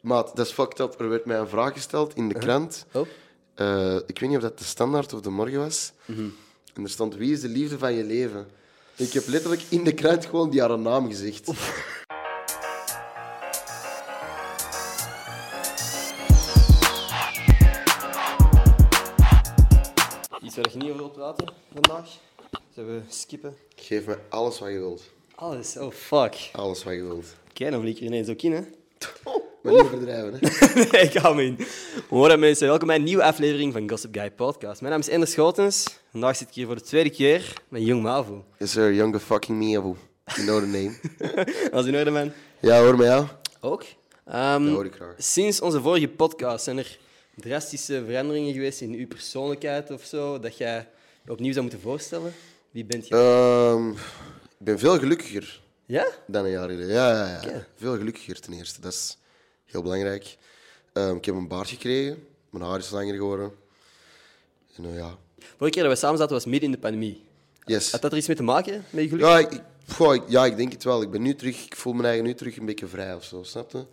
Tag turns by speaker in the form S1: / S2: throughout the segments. S1: Maat, dat is fucked up. Er werd mij een vraag gesteld in de krant.
S2: Oh.
S1: Eh, ik weet niet of dat de standaard of de morgen was. En er stond: Wie is de liefde van je leven? Ik heb letterlijk in de krant gewoon die haar naam gezegd.
S2: Iets waar je niet over wilt praten vandaag. Zullen we skippen?
S1: Geef me alles wat je wilt.
S2: Alles, oh fuck.
S1: Alles wat je wilt.
S2: Kijk, dan vlieg ik er ineens ook in, hè?
S1: Maar niet verdrijven, hè?
S2: nee, ik hou me in. Hoi mensen, welkom bij een nieuwe aflevering van Gossip Guy Podcast. Mijn naam is Ender Schotens. Vandaag zit ik hier voor de tweede keer met Jong Mavo.
S1: Yes, sir, younger fucking me, abu. You know the name.
S2: Als in orde, man.
S1: ja, hoor maar jou.
S2: Ook. Ehm,
S1: Dat hoor ik graag.
S2: Sinds onze vorige podcast zijn er drastische veranderingen geweest in uw persoonlijkheid of zo, dat jij je opnieuw zou moeten voorstellen. Wie bent je?
S1: Ehm, ik ben veel gelukkiger
S2: Ja?
S1: dan een jaar geleden. Ja, ja, ja.
S2: Oké.
S1: Veel gelukkiger ten eerste. Dat is heel belangrijk. Ehm, ik heb een baard gekregen. Mijn haar is langer geworden. En nou ja.
S2: Vorige keer dat we samen zaten was midden in de pandemie.
S1: Yes.
S2: Had dat er iets mee te maken, met je geluk?
S1: Ja ik, goh, ik- ja, ik denk het wel. Ik ben nu terug... Ik voel me eigen nu terug een beetje vrij of zo, snap je?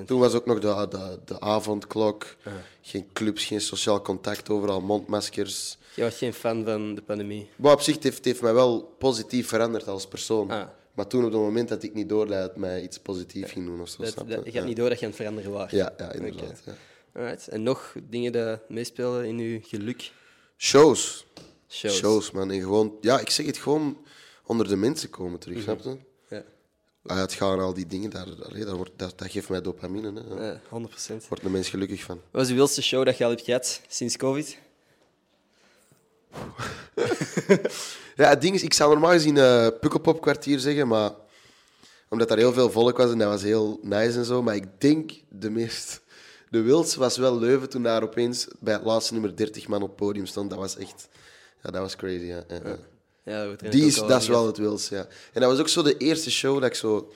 S2: 100%.
S1: Toen was ook nog de, de, de avondklok. Geen clubs, geen sociaal contact, overal mondmaskers.
S2: Jij was geen fan van de pandemie.
S1: Maar op zich het heeft het heeft mij wel positief veranderd als persoon.
S2: Ah.
S1: Maar toen, op het moment dat ik niet doorleid, het mij iets positiefs ging doen of zo.
S2: Dat,
S1: snap
S2: dat-
S1: je?
S2: je had
S1: ja.
S2: niet door dat je aan het veranderen was.
S1: Ja, ja, inderdaad. ja.
S2: Alright. En nog dingen die meespelen in uw geluk?
S1: Shows.
S2: Shows.
S1: Shows, man. En gewoon, ja, ik zeg het gewoon onder de mensen komen terug,
S2: Mhm.
S1: snap je?
S2: Ja,
S1: Uitgaan, al die dingen, daar, daar, daar wordt, dat, dat geeft mij dopamine. Hè. Daar
S2: ja 100%.
S1: wordt de mens gelukkig van.
S2: Wat was de wildste show dat je al hebt gehad sinds COVID?
S1: Ja, het ding is, ik zou normaal gezien eh Pukkelpop kwartier zeggen, maar omdat daar heel veel volk was en dat was heel nice en zo. Maar ik denk de meest. De Wils was wel Leuven toen daar opeens bij het laatste nummer 30 man op het podium stond. Dat was echt. Ja, dat was crazy. Ja. ja, ja.
S2: Ja, dat wordt er
S1: Die
S2: net
S1: is,
S2: ook al
S1: dat is
S2: over
S1: wel het Wils, ja. En dat was ook zo de eerste show dat ik zo.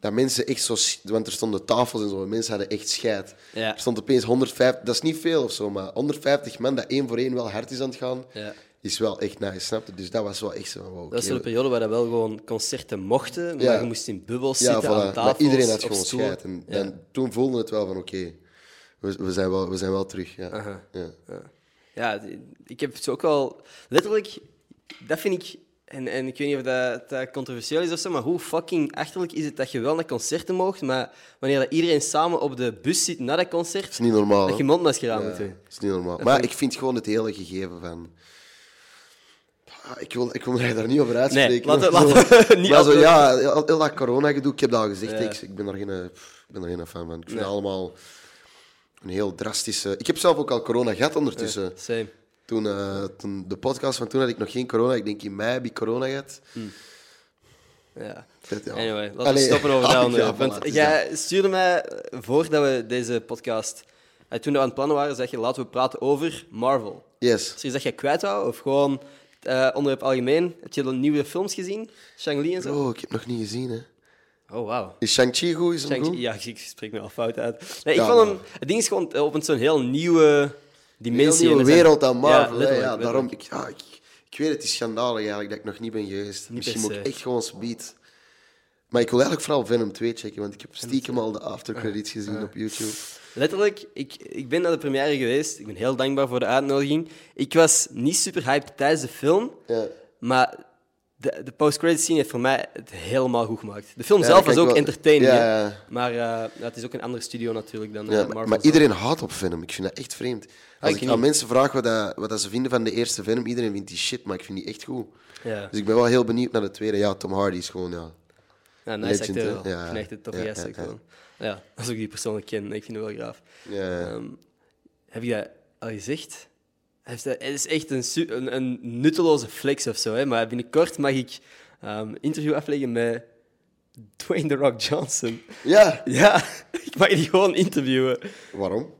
S1: Dat mensen echt zo. s- Want er stonden tafels en zo. en Mensen hadden echt scheid.
S2: Ja.
S1: Er stond opeens 150. Dat is niet veel of zo, maar 150 man dat één voor één wel hard is aan het gaan.
S2: Ja.
S1: Is wel echt nice, snap je? Dus dat was wel echt zo. Wow,
S2: Dat was
S1: oké,
S2: zo'n periode waar dat wel gewoon concerten mochten, maar
S1: Ja.
S2: je moest in bubbels
S1: ja,
S2: zitten aan
S1: voilà.
S2: tafels,
S1: Maar iedereen had
S2: op
S1: gewoon
S2: stoelen.
S1: scheid. En dan, toen voelde het wel van oké, we, we, zijn wel, we zijn wel terug. Ja. Ja.
S2: Ja, d- ik heb het ook wel... Letterlijk, dat vind ik... En, en ik weet niet of dat, dat controversieel is of zo, maar hoe fucking achterlijk is het dat je wel naar concerten moogt, maar wanneer dat iedereen samen op de bus zit na dat concert,
S1: is niet normaal,
S2: dat je
S1: hè?
S2: mondmasker aan moet
S1: Ja,
S2: doen.
S1: dat is niet normaal. Maar ik vind gewoon het hele gegeven van. Ah, Ik wil, ik wil mij daar niet over uitspreken.
S2: Nee, laten we-
S1: maar zo-
S2: laten we niet
S1: maar zo,
S2: afdrogen.
S1: ja, heel, heel dat corona-gedoe, ik heb dat al gezegd. Ik, ik ben daar geen, pff, ik ben daar geen fan van. Ik vind het allemaal een heel drastische... Ik heb zelf ook al corona gehad ondertussen.
S2: Same.
S1: Toen, eh, toen, de podcast van toen had ik nog geen corona. Ik denk in mei heb ik corona gehad.
S2: Ja.
S1: Dat, ja.
S2: Anyway, laten
S1: Allee,
S2: we stoppen over
S1: ja,
S2: dat onderwerp.
S1: voilà, dus het
S2: want
S1: is
S2: jij stuurde mij, eh, voordat we deze podcast... eh, Toen we aan het plannen waren, zeg je, laten we praten over Marvel.
S1: Yes.
S2: Is er iets dat jij kwijt wou? Of gewoon eh onderwerp algemeen? Heb je dan nieuwe films gezien? Shang-Li en zo?
S1: Bro, Oh, ik heb nog niet gezien, hè.
S2: Oh, wauw.
S1: Is Shang-Chi goed? Is hem
S2: Shang-Chi-
S1: goed?
S2: Ja, ik spreek me al fout uit. Nee, ik
S1: Ja,
S2: vond hem...
S1: maar-
S2: Het ding is gewoon eh, op een zo'n heel nieuwe
S1: Heel
S2: dimensie.
S1: nieuwe
S2: En er zijn-
S1: wereld aan Marvel, hè.
S2: letterlijk,
S1: Ja,
S2: letterlijk.
S1: daarom... Ik, ja, ik, ik weet het, is schandalig eigenlijk dat ik nog niet ben geweest. Misschien
S2: per
S1: moet ik
S2: se.
S1: echt gewoon speed. Maar ik wil eigenlijk vooral Venom 2 checken, want ik heb stiekem al de aftercredits
S2: Ah,
S1: gezien op YouTube.
S2: Letterlijk, ik, ik ben naar de première geweest. Ik ben heel dankbaar voor de uitnodiging. Ik was niet super hyped tijdens de film,
S1: Ja.
S2: maar de, de post-credit scene heeft voor mij het helemaal goed gemaakt. De film
S1: Ja,
S2: zelf
S1: dat
S2: was
S1: kan
S2: ook
S1: ik wel-
S2: entertaining,
S1: Ja,
S2: hè.
S1: ja.
S2: maar eh, ja, het is ook een andere studio natuurlijk dan eh,
S1: Ja,
S2: Marvel.
S1: maar
S2: zelf.
S1: iedereen haat op Venom. Ik vind dat echt vreemd. Als
S2: ik
S1: ik
S2: niet.
S1: aan mensen vraag wat, dat, wat dat ze vinden van de eerste Venom, iedereen vindt die shit, maar ik vind die echt goed.
S2: Ja.
S1: Dus ik ben wel heel benieuwd naar de tweede. Ja, Tom Hardy is gewoon, ja.
S2: Ja, nice
S1: Legend, hè?
S2: acteur wel.
S1: Ja.
S2: Ik vind echt een toffe
S1: Ja,
S2: gast
S1: ja,
S2: ook
S1: ja.
S2: wel. Ja, als ik die persoonlijk ken, ik vind hem wel graaf.
S1: ja.
S2: Ehm, heb je dat al gezegd? Hij heeft dat- Het is echt een, su- een, een nutteloze flex of zo, hè? maar binnenkort mag ik ehm interview afleggen met Dwayne The Rock Johnson.
S1: Ja.
S2: Ja, ik mag die gewoon interviewen.
S1: Waarom?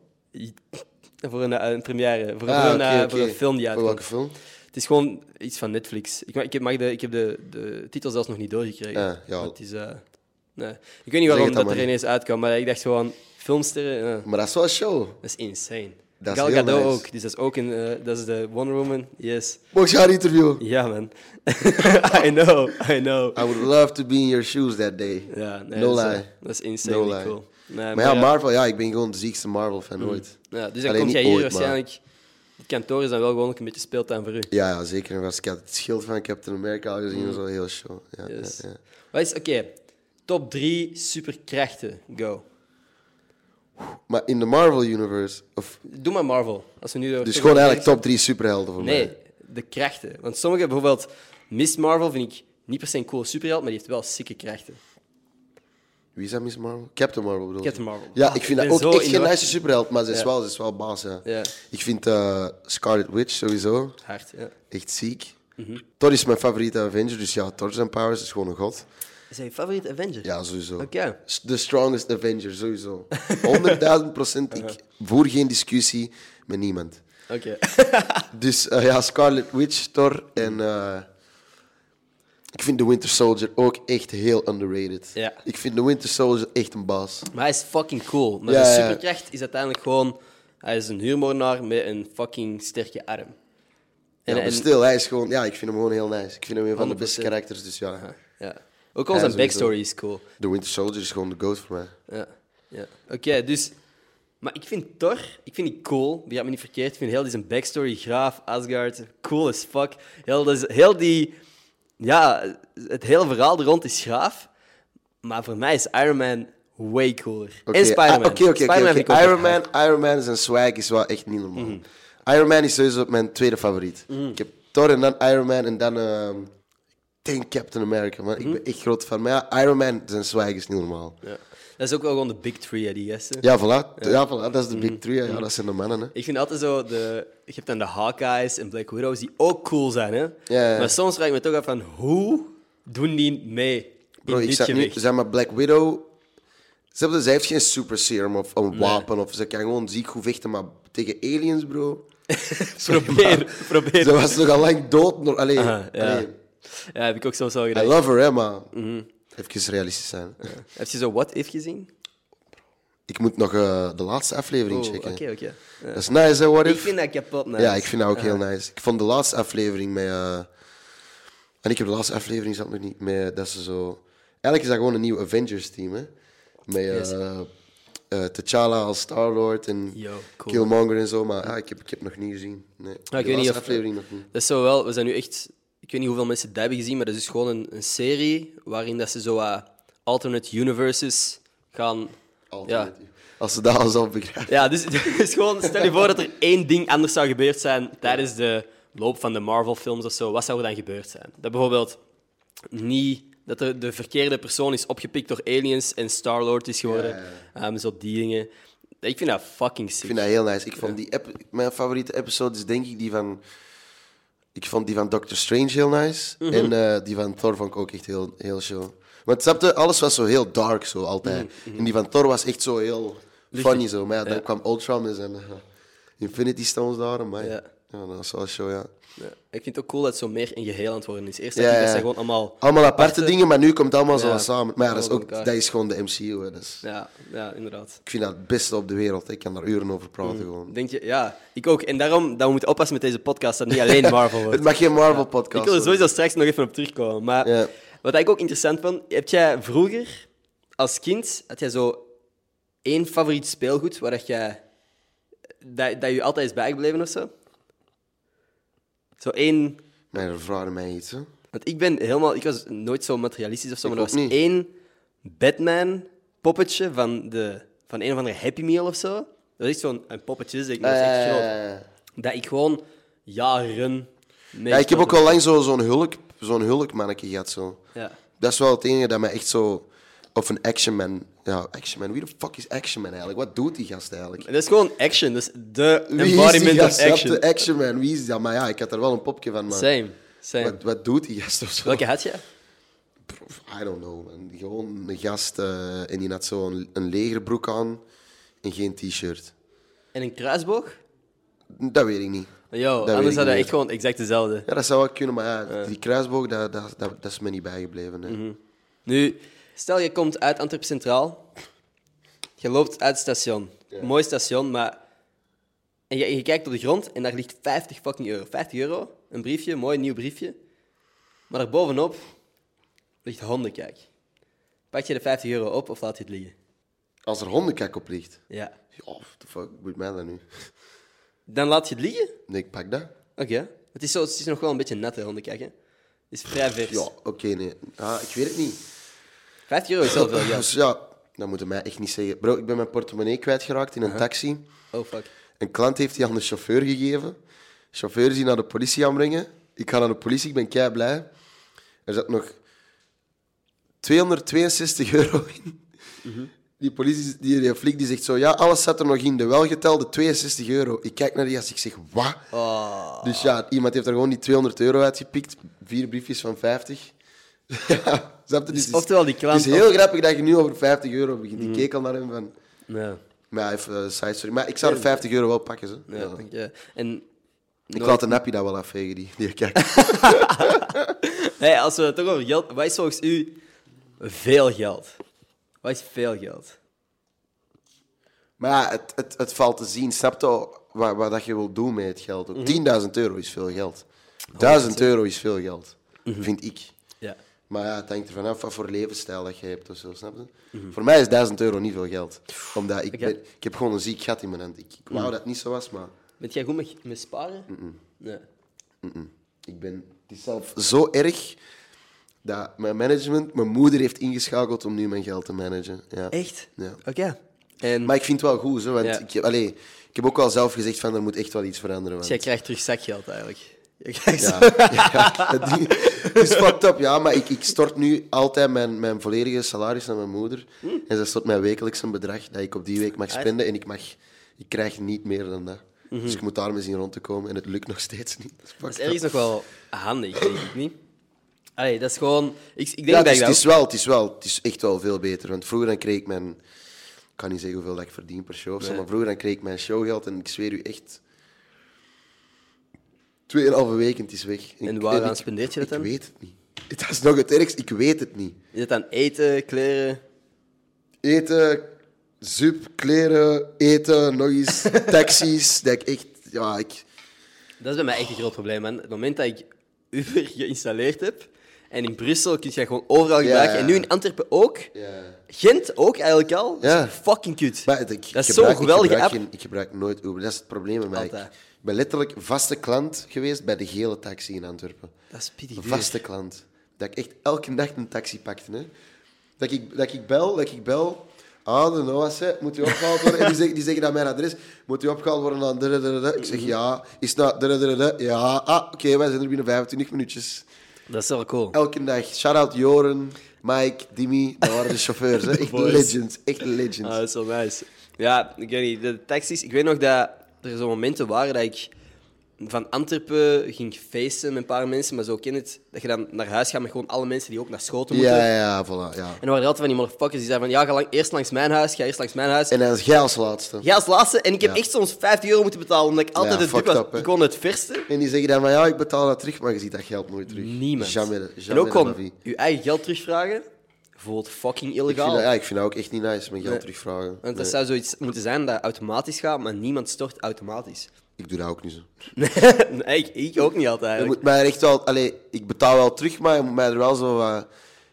S2: Voor een, eh, een première, voor,
S1: Ah,
S2: voor een,
S1: oké,
S2: eh,
S1: oké.
S2: voor een film die
S1: Voor
S2: uitkomt.
S1: welke film?
S2: Het is gewoon iets van Netflix. Ik, ma- ik heb, mag de, ik heb de, de titel zelfs nog niet doorgekregen.
S1: Ja, ja.
S2: Het is, eh, nee. Ik weet niet
S1: het
S2: waarom
S1: dan
S2: dat
S1: maar
S2: er
S1: niet.
S2: ineens uitkwam, maar ik dacht gewoon, filmsterren, eh,
S1: Maar dat is wel een show.
S2: dat is insane.
S1: Dat is
S2: Gal
S1: heel
S2: Gadot
S1: nice.
S2: ook, dus dat is ook een, eh, dat is de Wonder Woman, yes.
S1: Mocht je haar interviewen?
S2: Ja man, I know, I know.
S1: I would love to be in your shoes that day.
S2: Ja, nee,
S1: Ah. no
S2: dat is, eh,
S1: lie.
S2: dat is insanely
S1: No lie.
S2: cool. Nee,
S1: maar ja, Marvel, ja, ik ben gewoon de ziekste Marvel-fan ooit.
S2: Ja, dus dan
S1: Alleen
S2: kom jij
S1: niet
S2: hier
S1: ooit, maar-
S2: waarschijnlijk... Het kantoor is dan wel gewoon ook een beetje speeltuin voor u.
S1: Ja, ja, zeker. En was- Ik had het schild van Captain America al gezien, dat was wel heel show. Ja,
S2: Mm. Yes.
S1: ja, ja.
S2: Wat is... Oké. Top drie superkrachten. Go.
S1: Maar in de Marvel-universe, of
S2: Doe maar Marvel. Als we nu
S1: dus gewoon eigenlijk top drie superhelden voor
S2: Nee,
S1: mij.
S2: de krachten. Want sommige, bijvoorbeeld Miss Marvel, vind ik niet per se een coole superheld, maar die heeft wel sikke krachten.
S1: Wie is dat Miss Marvel? Captain Marvel bedoel je?
S2: Captain Marvel.
S1: Ja,
S2: Ah,
S1: ik vind
S2: ik
S1: dat
S2: ben
S1: ook
S2: zo
S1: echt
S2: in de
S1: geen
S2: war.
S1: nice superheld, maar ze is,
S2: Ja.
S1: wel, ze is wel baas, ja.
S2: Ja.
S1: Ik vind eh, Scarlet Witch sowieso
S2: Hard, ja.
S1: echt ziek.
S2: Mhm.
S1: Thor is mijn favoriete Avenger, dus ja, Thor zijn powers is gewoon een god.
S2: Is hij je favoriete Avenger?
S1: Ja, sowieso.
S2: Oké.
S1: S- The strongest Avenger, sowieso. 100.000 procent. Ik voer geen discussie met niemand.
S2: Oké.
S1: Dus eh, ja, Scarlet Witch, Thor en... eh, ik vind The Winter Soldier ook echt heel underrated.
S2: Ja.
S1: Ik vind The Winter Soldier echt een baas.
S2: maar hij is fucking cool. Maar
S1: Ja,
S2: zijn
S1: ja.
S2: superkracht is uiteindelijk gewoon... Hij is een huurmoordenaar met een fucking sterke arm.
S1: Ja, maar stil, hij is gewoon... Ja, ik vind hem gewoon heel nice. Ik vind hem een van de beste
S2: 100%.
S1: karakters, dus
S2: Uh-huh.
S1: ja.
S2: ja. Ook al
S1: Ja,
S2: zijn
S1: sowieso.
S2: backstory is cool.
S1: The Winter Soldier is gewoon de goat voor mij.
S2: Ja. ja. Oké, dus... Maar ik vind Thor, ik vind die cool. Begrijp me niet verkeerd. Ik vind heel die zijn backstory, graaf, Asgard, cool as fuck. Heel, dus, heel die... Ja, het hele verhaal er rond is graaf. Maar voor mij is Iron Man way cooler. En Spider-Man.
S1: Ah, Oké, oké, oké,
S2: Spider-Man
S1: oké.
S2: vind ik ook
S1: Iron
S2: echt Mhm.
S1: Man, Iron Man zijn swag is wel echt niet normaal. Iron Man is sowieso mijn tweede favoriet. Ik heb Thor en dan Iron Man en dan... ehm, ik denk Captain America, man.
S2: Mhm.
S1: Ik ben echt groot fan. Maar ja, Iron Man, zijn swag is niet normaal.
S2: hard. Ja. Dat is ook wel gewoon de big three, hè, die gasten.
S1: Ja, voilà. Ja, voilà. Dat is
S2: Mhm.
S1: de big three. hè. Ja, dat zijn de mannen, hè.
S2: Ik vind altijd zo, de, je hebt dan de Hawkeyes en Black Widows die ook cool zijn, hè?
S1: ja, ja.
S2: Maar soms vraag ik me toch af van, hoe doen die mee in
S1: Bro, ik
S2: dit
S1: zat nu...
S2: gewicht?
S1: Zeg maar, Black Widow... Ze hebben- ze heeft geen super serum of een wapen. Of ze kan gewoon ziek goed vechten, maar tegen aliens, bro...
S2: Probeer, probeer.
S1: Ze was nog al lang dood. nog- Allee,
S2: Aha, ja.
S1: allee.
S2: Ja, heb ik ook soms wel
S1: I
S2: gedaan.
S1: love her, hè, maar...
S2: Mhm.
S1: Even realistisch zijn.
S2: Heb je zo What If gezien?
S1: Ik moet nog eh, de laatste aflevering
S2: Oh,
S1: checken.
S2: Oké, oké. Ja.
S1: Dat is nice, hè, What
S2: Ik
S1: If?
S2: vind dat kapot, nice.
S1: Ja, ik vind dat ook heel nice. Ik vond de laatste aflevering met... eh, En ik heb de laatste aflevering zat nog niet met dat ze zo... Eigenlijk is dat gewoon een nieuw Avengers-team, hè. Met eh eh, T'Challa als Star-Lord en
S2: Yo, cool.
S1: Killmonger en zo. Maar ah, ik, heb, ik heb nog niet gezien. Nee. de
S2: weet niet
S1: laatste
S2: of-
S1: aflevering nog niet.
S2: Dat is zo wel, we zijn nu echt, ik weet niet hoeveel mensen dat hebben gezien, maar dat is dus gewoon een, een serie waarin dat ze zo wat alternate universes gaan...
S1: Altijd. Als ze dat al zelf begrijpen.
S2: Ja, dus, dus gewoon, stel je voor dat er één ding anders zou gebeurd zijn tijdens de loop van de Marvel-films of zo. Wat zou er dan gebeurd zijn? Dat bijvoorbeeld niet dat de, de verkeerde persoon is opgepikt door aliens en Star-Lord is geworden.
S1: Ja,
S2: Ehm, zo die dingen. Ik vind dat fucking sick.
S1: Ik vind dat heel nice. Ik vond die ep- mijn favoriete episode is denk ik die van... Ik vond die van Doctor Strange heel nice.
S2: Mhm.
S1: En eh, die van Thor vond ik ook echt heel, heel show. Want snapte, alles was zo heel dark zo altijd.
S2: Mhm,
S1: En die van Thor was echt zo heel funny zo. Maar ja, dan kwam Ultron met zijn eh, Infinity Stones daar. Maar
S2: Ja.
S1: ja. dat was wel show, ja.
S2: Ja. Ik vind het ook cool dat zo meer een geheel aan het worden is. Eerst
S1: Ja,
S2: dacht ik dat
S1: ja.
S2: ze gewoon allemaal...
S1: Allemaal aparte dingen, maar nu komt het allemaal zo
S2: eh, Ja.
S1: wat samen. Maar ja, dat is,
S2: Allemaal
S1: ook,
S2: door
S1: dat
S2: elkaar.
S1: is gewoon de MCU. Hè. Dat is-
S2: Ja, ja inderdaad.
S1: ik vind dat het beste op de wereld. hè. Ik kan daar uren over praten
S2: Mhm.
S1: gewoon.
S2: Denk je, ja, ik ook. En daarom dat we moeten oppassen met deze podcast, dat het niet alleen Marvel wordt.
S1: Het mag geen Marvel-podcast
S2: Ik wil er sowieso straks nog even op terugkomen. Maar
S1: Ja.
S2: wat ik ook interessant vond, heb jij vroeger als kind, had jij zo één favoriet speelgoed waar dat jij, dat, dat je altijd is bijgebleven of zo? Zo één,
S1: Mijn vragen mij iets, hè.
S2: want ik ben helemaal, ik was nooit zo materialistisch of zo,
S1: Ik
S2: maar er was
S1: ook niet.
S2: één Batman poppetje van, de, van een of andere Happy Meal of zo. Dat is echt zo'n een poppetje, dus ik, dat is echt groot.
S1: Eh,
S2: Dat ik gewoon jaren mee
S1: ja, ik heb ook al lang zo- zo'n hulk, zo'n hulkmannetje gehad. Zo.
S2: Ja.
S1: Dat is wel het enige dat mij echt zo... Of een Action Man. Ja, Action Man. Wie de fuck is Action Man eigenlijk? Wat doet die gast eigenlijk?
S2: Dat is gewoon action, dus de
S1: Wie is die
S2: embodiment
S1: gast?
S2: of
S1: Snap
S2: action.
S1: je? Action Man, wie is dat? Maar ja, ik had er wel een popje van, maar...
S2: Same, same.
S1: Wat, wat doet die gast of zo?
S2: Welke had je?
S1: I don't know, man. Gewoon een gast eh, en die had zo'n een legerbroek aan en geen t-shirt.
S2: En een kruisboog?
S1: Dat weet ik niet.
S2: Yo,
S1: weet ik
S2: anders
S1: niet
S2: had dat
S1: meer.
S2: echt gewoon exact dezelfde.
S1: Ja, dat zou wel kunnen, maar ja, die kruisboog, dat, dat, dat, dat is me niet bijgebleven. nee.
S2: Mhm. Nu, stel je komt uit Antwerpen Centraal. Je loopt uit het station. Mooi station, maar... En je, je kijkt op de grond en daar ligt 50 fucking euro. 50 euro, een briefje, mooi nieuw briefje. Maar daarbovenop ligt hondenkijk. Pak je de 50 euro op of laat je het liggen?
S1: Als er hondenkak op ligt.
S2: Ja.
S1: Ja, what the fuck, moet mij dat nu?
S2: Dan laat je het liggen?
S1: Nee, ik pak dat.
S2: Oké. Het, is zo, het is nog wel een beetje nat, hè, hondenkak. Hè? Het is vrij vers.
S1: Ja, oké, nee. Ah, ik weet het niet.
S2: 50 euro is wel veel geld.
S1: Dus ja, dat moeten mij echt niet zeggen. Bro, ik ben mijn portemonnee kwijtgeraakt in een taxi.
S2: Oh, fuck.
S1: Een klant heeft die aan de chauffeur gegeven. De chauffeur is die naar de politie aanbrengen. Ik ga naar de politie, ik ben kei blij. Er zat nog 262 euro in. Die politie, die, die flik, die zegt zo, ja, alles zat er nog in. De welgetelde 62 euro. Ik kijk naar die als ik zeg, wat?
S2: Ah.
S1: Dus ja, iemand heeft er gewoon die 200 euro uitgepikt. Vier briefjes van 50. ja, snap je? Dus het is-
S2: oftewel die klant- Mhm.
S1: Het is heel grappig dat je nu over 50 euro begint. Ik keek al naar hem van...
S2: Ja.
S1: Maar even eh, side story. Maar ik zou de 50 euro wel pakken. Zo.
S2: ja,
S1: Ja.
S2: dank je. En
S1: Ik laat de nappie dat wel afvegen, die, die kijkt.
S2: hey, als we het toch over geld... Wat is volgens u veel geld? Wat is veel geld?
S1: maar ja, het, het, het valt te zien. Snap je wat, wat dat je wil doen met het geld?
S2: Mhm.
S1: ook. 10.000 euro is veel geld. 1000 euro is veel geld,
S2: Mhm.
S1: vind ik.
S2: Ja.
S1: Maar ja, het hangt ervan af wat voor levensstijl dat je hebt of zo, snap je? Voor mij is 1000 euro niet veel geld. Omdat ik,
S2: Oké.
S1: ben- ik heb gewoon een ziek gat in mijn hand. Ik, ik wou dat het niet zo was, maar
S2: Bent jij goed met, met sparen? Nee.
S1: ik ben het is zelf zo erg dat mijn management, mijn moeder heeft ingeschakeld om nu mijn geld te managen. Ja.
S2: Echt?
S1: Ja.
S2: Oké. En
S1: Maar ik vind het wel goed, zo, want
S2: Ja.
S1: ik, heb- allee, ik heb ook wel zelf gezegd van er moet echt wel iets veranderen. Want,
S2: dus jij krijgt terug zakgeld eigenlijk? Je krijgt
S1: ja, ja, dat ding- het is fucked up, ja, maar ik, ik stort nu altijd mijn, mijn volledige salaris aan mijn moeder. En zij stort mij wekelijks een bedrag dat ik op die week mag spenden en ik, mag, ik krijg niet meer dan dat. Dus ik moet daarmee zien rond te komen en het lukt nog steeds niet. Dat is
S2: Dat is
S1: fucked up.
S2: ergens nog wel handig, denk ik niet. Allee, dat is gewoon... Ik, ik denk
S1: Ja,
S2: dat
S1: dus
S2: ik
S1: het,
S2: dat
S1: is
S2: ook-
S1: wel, het is wel, het is echt wel veel beter. Want vroeger dan kreeg ik mijn... Ik kan niet zeggen hoeveel dat ik verdien per show, of zo, maar vroeger dan kreeg ik mijn showgeld en ik zweer u echt... Tweeënhalve week en het is weg.
S2: En
S1: Ik-
S2: waaraan
S1: ik-
S2: spendeert je dat dan?
S1: Ik weet het niet. Dat is nog het ergst, ik weet het niet.
S2: Is het aan eten, kleren?
S1: Eten, zup, kleren, eten, nog eens, taxis. dat ik echt... Ja, ik...
S2: Dat is bij mij echt een groot probleem, man. Het moment dat ik Uber geïnstalleerd heb, en in Brussel kun je dat gewoon overal gebruiken,
S1: ja,
S2: en nu
S1: ja.
S2: in Antwerpen ook,
S1: Ja.
S2: Gent ook eigenlijk al, dat
S1: Ja.
S2: is fucking kut.
S1: Maar het- ik, ik
S2: dat is
S1: gebruik-
S2: zo'n geweldige
S1: ik gebruik
S2: app.
S1: geen- ik gebruik nooit Uber. Dat is het probleem bij mij. Ik
S2: Altijd.
S1: ben letterlijk vaste klant geweest bij de gele taxi in Antwerpen.
S2: Dat is pittig duur.
S1: Vaste klant. Dat ik echt elke dag een taxi pakte. Hè. Dat, ik, dat ik bel, dat ik bel. Ah, de Noah zei, moet u opgehaald worden? En die zeggen, die zeggen dat mijn adres. Moet u opgehaald worden aan... dere, dere, dere? Ik zeg ja. Is het nou... dere, dere, dere? Ja. Ah, oké, wij zijn er binnen 25 minuutjes.
S2: Dat is wel cool.
S1: Elke dag. Shout-out Joren, Mike, Dimi. Dat waren de chauffeurs. Hè. Echt
S2: Boys.
S1: legends. Echt legends.
S2: Ah, dat is wel nice. Ja, ik weet niet, de taxis... Ik weet nog dat er zo momenten waren dat ik van Antwerpen ging feesten met een paar mensen, maar zo ken je het, dat je dan naar huis gaat met gewoon alle mensen die ook naar Schoten moeten.
S1: ja, ja, voilà. Ja.
S2: En dan waren er altijd van die motherfuckers die zeiden van, ja, ga lang, eerst langs mijn huis, ga eerst langs mijn huis.
S1: En dan jij als laatste.
S2: Ja, als laatste. En ik heb
S1: Ja.
S2: echt soms 50 euro moeten betalen, omdat ik altijd
S1: Ja,
S2: het dupe was.
S1: fucked up, hè.
S2: ik kon het verste.
S1: En die zeggen dan van ja, ik betaal dat terug, maar je ziet dat geld nooit terug.
S2: Niemand.
S1: Jamais, de-
S2: en
S1: jamais
S2: ook
S1: de la vie.
S2: gewoon je eigen geld terugvragen, voelt fucking
S1: Ik vind,
S2: illegaal.
S1: dat, ja, ik vind dat ook echt niet nice, mijn geld
S2: Nee.
S1: terugvragen.
S2: Want dat
S1: Nee,
S2: zou zoiets moeten zijn dat automatisch gaat, maar niemand stort automatisch.
S1: Ik doe dat ook niet zo.
S2: nee, ik, ik ook niet altijd
S1: Je
S2: eigenlijk.
S1: moet mij er echt wel, allee, ik betaal wel terug, maar je moet mij er wel zo wat-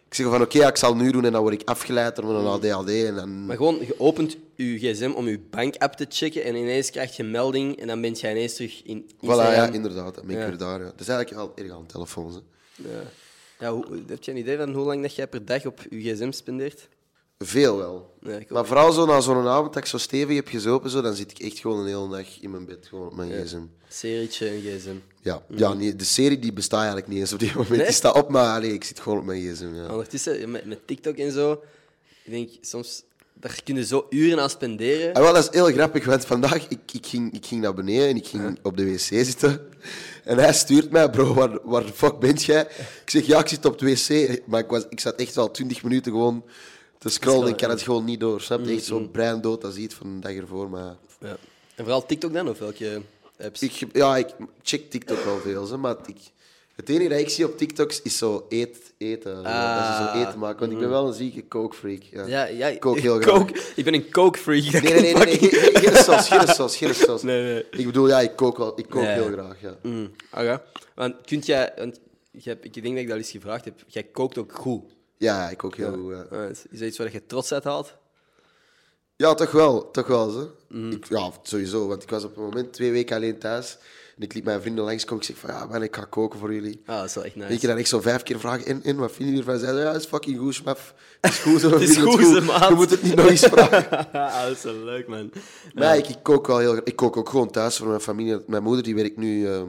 S1: Ik zeg van oké, ja, ik zal nu doen en dan word ik afgeleid door
S2: Mm.
S1: een ADHD. En dan...
S2: Maar gewoon, je opent je gsm om je bankapp te checken en ineens krijg je een melding en dan ben je ineens terug in
S1: Voilà, ja,
S2: Instagram.
S1: inderdaad. Dan ben ik
S2: Ja.
S1: weer daar. Ja. Dat is eigenlijk wel erg aan telefoons. Hè.
S2: Ja, hoe, heb je een idee van hoe lang dat jij per dag op je gsm spendeert?
S1: Veel wel.
S2: Ja, ik ook.
S1: maar vooral zo na zo'n avond dat ik zo stevig heb gezopen, zo, dan zit ik echt gewoon een hele dag in mijn bed, gewoon op mijn gsm.
S2: Serietje en gsm.
S1: Ja, ja nee, de serie die bestaat eigenlijk niet eens op dit moment.
S2: Mhm. Nee? Oh.
S1: Die staat op, maar allee, ik zit gewoon op mijn gsm. Ja.
S2: Ondertussen, met, met TikTok en zo, ik denk soms, daar kun je zo uren aan spenderen.
S1: En Ah, wel, dat is heel grappig, want vandaag ik, ik ging ik ging naar beneden en ik ging op de wc zitten. En hij stuurt mij, bro, waar, waar de fuck bent jij? Ik zeg, ja, ik zit op de wc. Maar ik, was, ik zat echt wel 20 minuten gewoon te scrollen. Ik kan het gewoon niet door. Snap
S2: Mhm,
S1: je? Echt zo'n brein dood als iets van de dag ervoor. Maar
S2: Ja. En vooral TikTok dan, of welke apps?
S1: ik, ja, ik check TikTok wel veel, zo, maar ik, het enige dat ik zie op TikToks is zo eet, eten. zo. Dat
S2: Ah.
S1: ze zo eten maken, want ik ben wel een zieke kookfreak. Ja.
S2: ja, ja,
S1: ik kook heel graag.
S2: coke, Ik ben een coke freak.
S1: Nee, nee, nee, nee, nee, geen- geen saus, geen saus, geen saus.
S2: Nee, nee.
S1: Ik bedoel, ja, ik kook, wel, ik kook
S2: Nee.
S1: heel graag, ja.
S2: Mm, oké. Want kunt jij, want je hebt- ik denk dat ik dat al eens gevraagd heb, jij kookt ook goed.
S1: Ja, ik kook heel goed, ja.
S2: Ah, is, is dat iets waar je trots uit haalt?
S1: Ja, toch wel. Toch wel zo.
S2: Mm.
S1: Ik, ja, sowieso. Want ik was op een moment twee weken alleen thuis. En ik liet mijn vrienden langskomen. Ik zeg van, ja man, ik ga koken voor jullie.
S2: Ah, dat is wel echt
S1: En ik
S2: nice.
S1: dan echt zo vijf keer vragen in, in, wat vinden jullie ervan? Zeiden, ja, is fucking goed, smaf. Het is goed, zo, we
S2: Het is
S1: vinden
S2: goed, ze, maat.
S1: Je moet het niet nog eens vragen.
S2: ah, dat is wel leuk, man.
S1: Maar ik, ik kook wel heel gra- Ik kook ook gewoon thuis voor mijn familie. Mijn moeder die werkt nu ehm,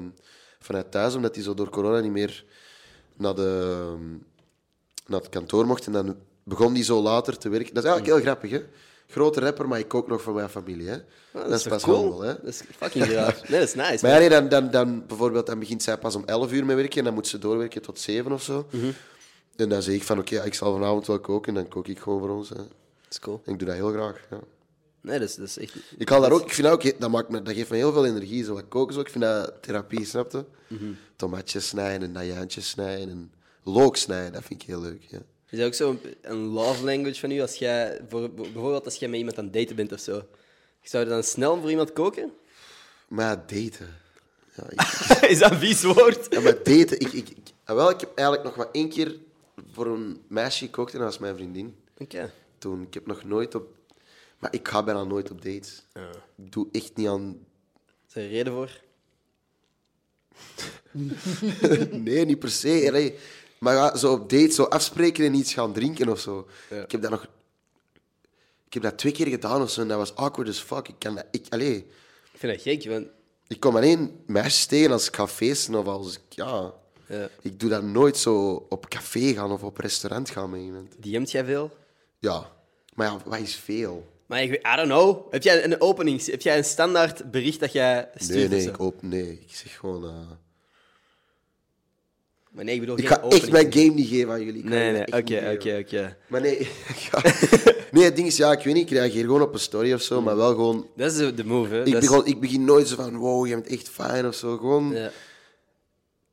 S1: vanuit thuis, omdat die zo door corona niet meer naar, de, ehm, naar het kantoor mocht. En dan begon die zo later te werken. Dat is eigenlijk heel grappig, hè? Grote rapper, maar ik kook nog voor mijn familie. Hè?
S2: Ah,
S1: dat is
S2: toch
S1: pas
S2: cool?
S1: handel, hè?
S2: Dat is fucking raar. Nee, dat is nice.
S1: Maar ja, nee, dan, dan, dan, bijvoorbeeld, dan begint zij pas om 11 uur mee werken en dan moet ze doorwerken tot 7 of zo.
S2: Mhm.
S1: En dan zeg ik van oké, ja, ik zal vanavond wel koken en dan kook ik gewoon voor ons. Hè.
S2: Dat is cool.
S1: En ik doe dat heel graag. Ja.
S2: Nee, dat is, dat is echt...
S1: Ik haal daar ook, ik vind dat ook, he- dat, maakt me, dat geeft me heel veel energie. Zo wat koken, zo. ik vind dat therapie, snap je? Tomatjes snijden en najaantjes snijden en look snijden, dat vind ik heel leuk. Ja.
S2: Is dat ook zo'n een love language van u? Als jij, voor, bijvoorbeeld als jij met iemand aan het daten bent of zo. Zou je dan snel voor iemand koken?
S1: Maar ja, daten. Ja, ik-
S2: is dat een vies woord?
S1: ja, maar daten, ik, ik, ik, ah, wel, ik heb eigenlijk nog maar één keer voor een meisje gekookt en dat was mijn vriendin.
S2: Oké.
S1: toen. Ik heb nog nooit op... Maar ik ga bijna nooit op dates. Ik doe echt niet aan...
S2: Is er een reden voor?
S1: Nee, niet per se. allee. Maar ja, zo op dates, zo afspreken en iets gaan drinken of zo.
S2: Ja.
S1: Ik heb dat nog... Ik heb dat twee keer gedaan of zo en dat was awkward as fuck. Ik kan dat... Ik, allee,
S2: Ik vind dat gek, want...
S1: ik kom alleen meisjes tegen als ik ga feesten of als ik... Ja...
S2: Ja.
S1: Ik doe dat nooit zo op café gaan of op restaurant gaan met iemand.
S2: DM't jij veel?
S1: Ja. Maar ja, wat is veel?
S2: Maar ik weet, I don't know. Heb jij een opening? Heb jij een standaard bericht dat jij stuurt?
S1: Nee,
S2: of
S1: nee,
S2: zo?
S1: ik, op, nee. ik zeg gewoon... eh,
S2: Maar nee, ik bedoel
S1: Ik
S2: geen
S1: ga
S2: opening.
S1: echt mijn game niet geven aan jullie. Ik ga
S2: Nee,
S1: jullie
S2: nee,
S1: echt niet
S2: oké,
S1: geven.
S2: oké, oké.
S1: Maar nee, ja. nee, het ding is, ja, ik weet niet, ik reageer gewoon op een story of zo, maar wel gewoon...
S2: Dat is de- de move, hè.
S1: Ik,
S2: Dat is-
S1: begon, ik begin nooit zo van, wow, je bent echt fijn of zo. Gewoon
S2: Ja.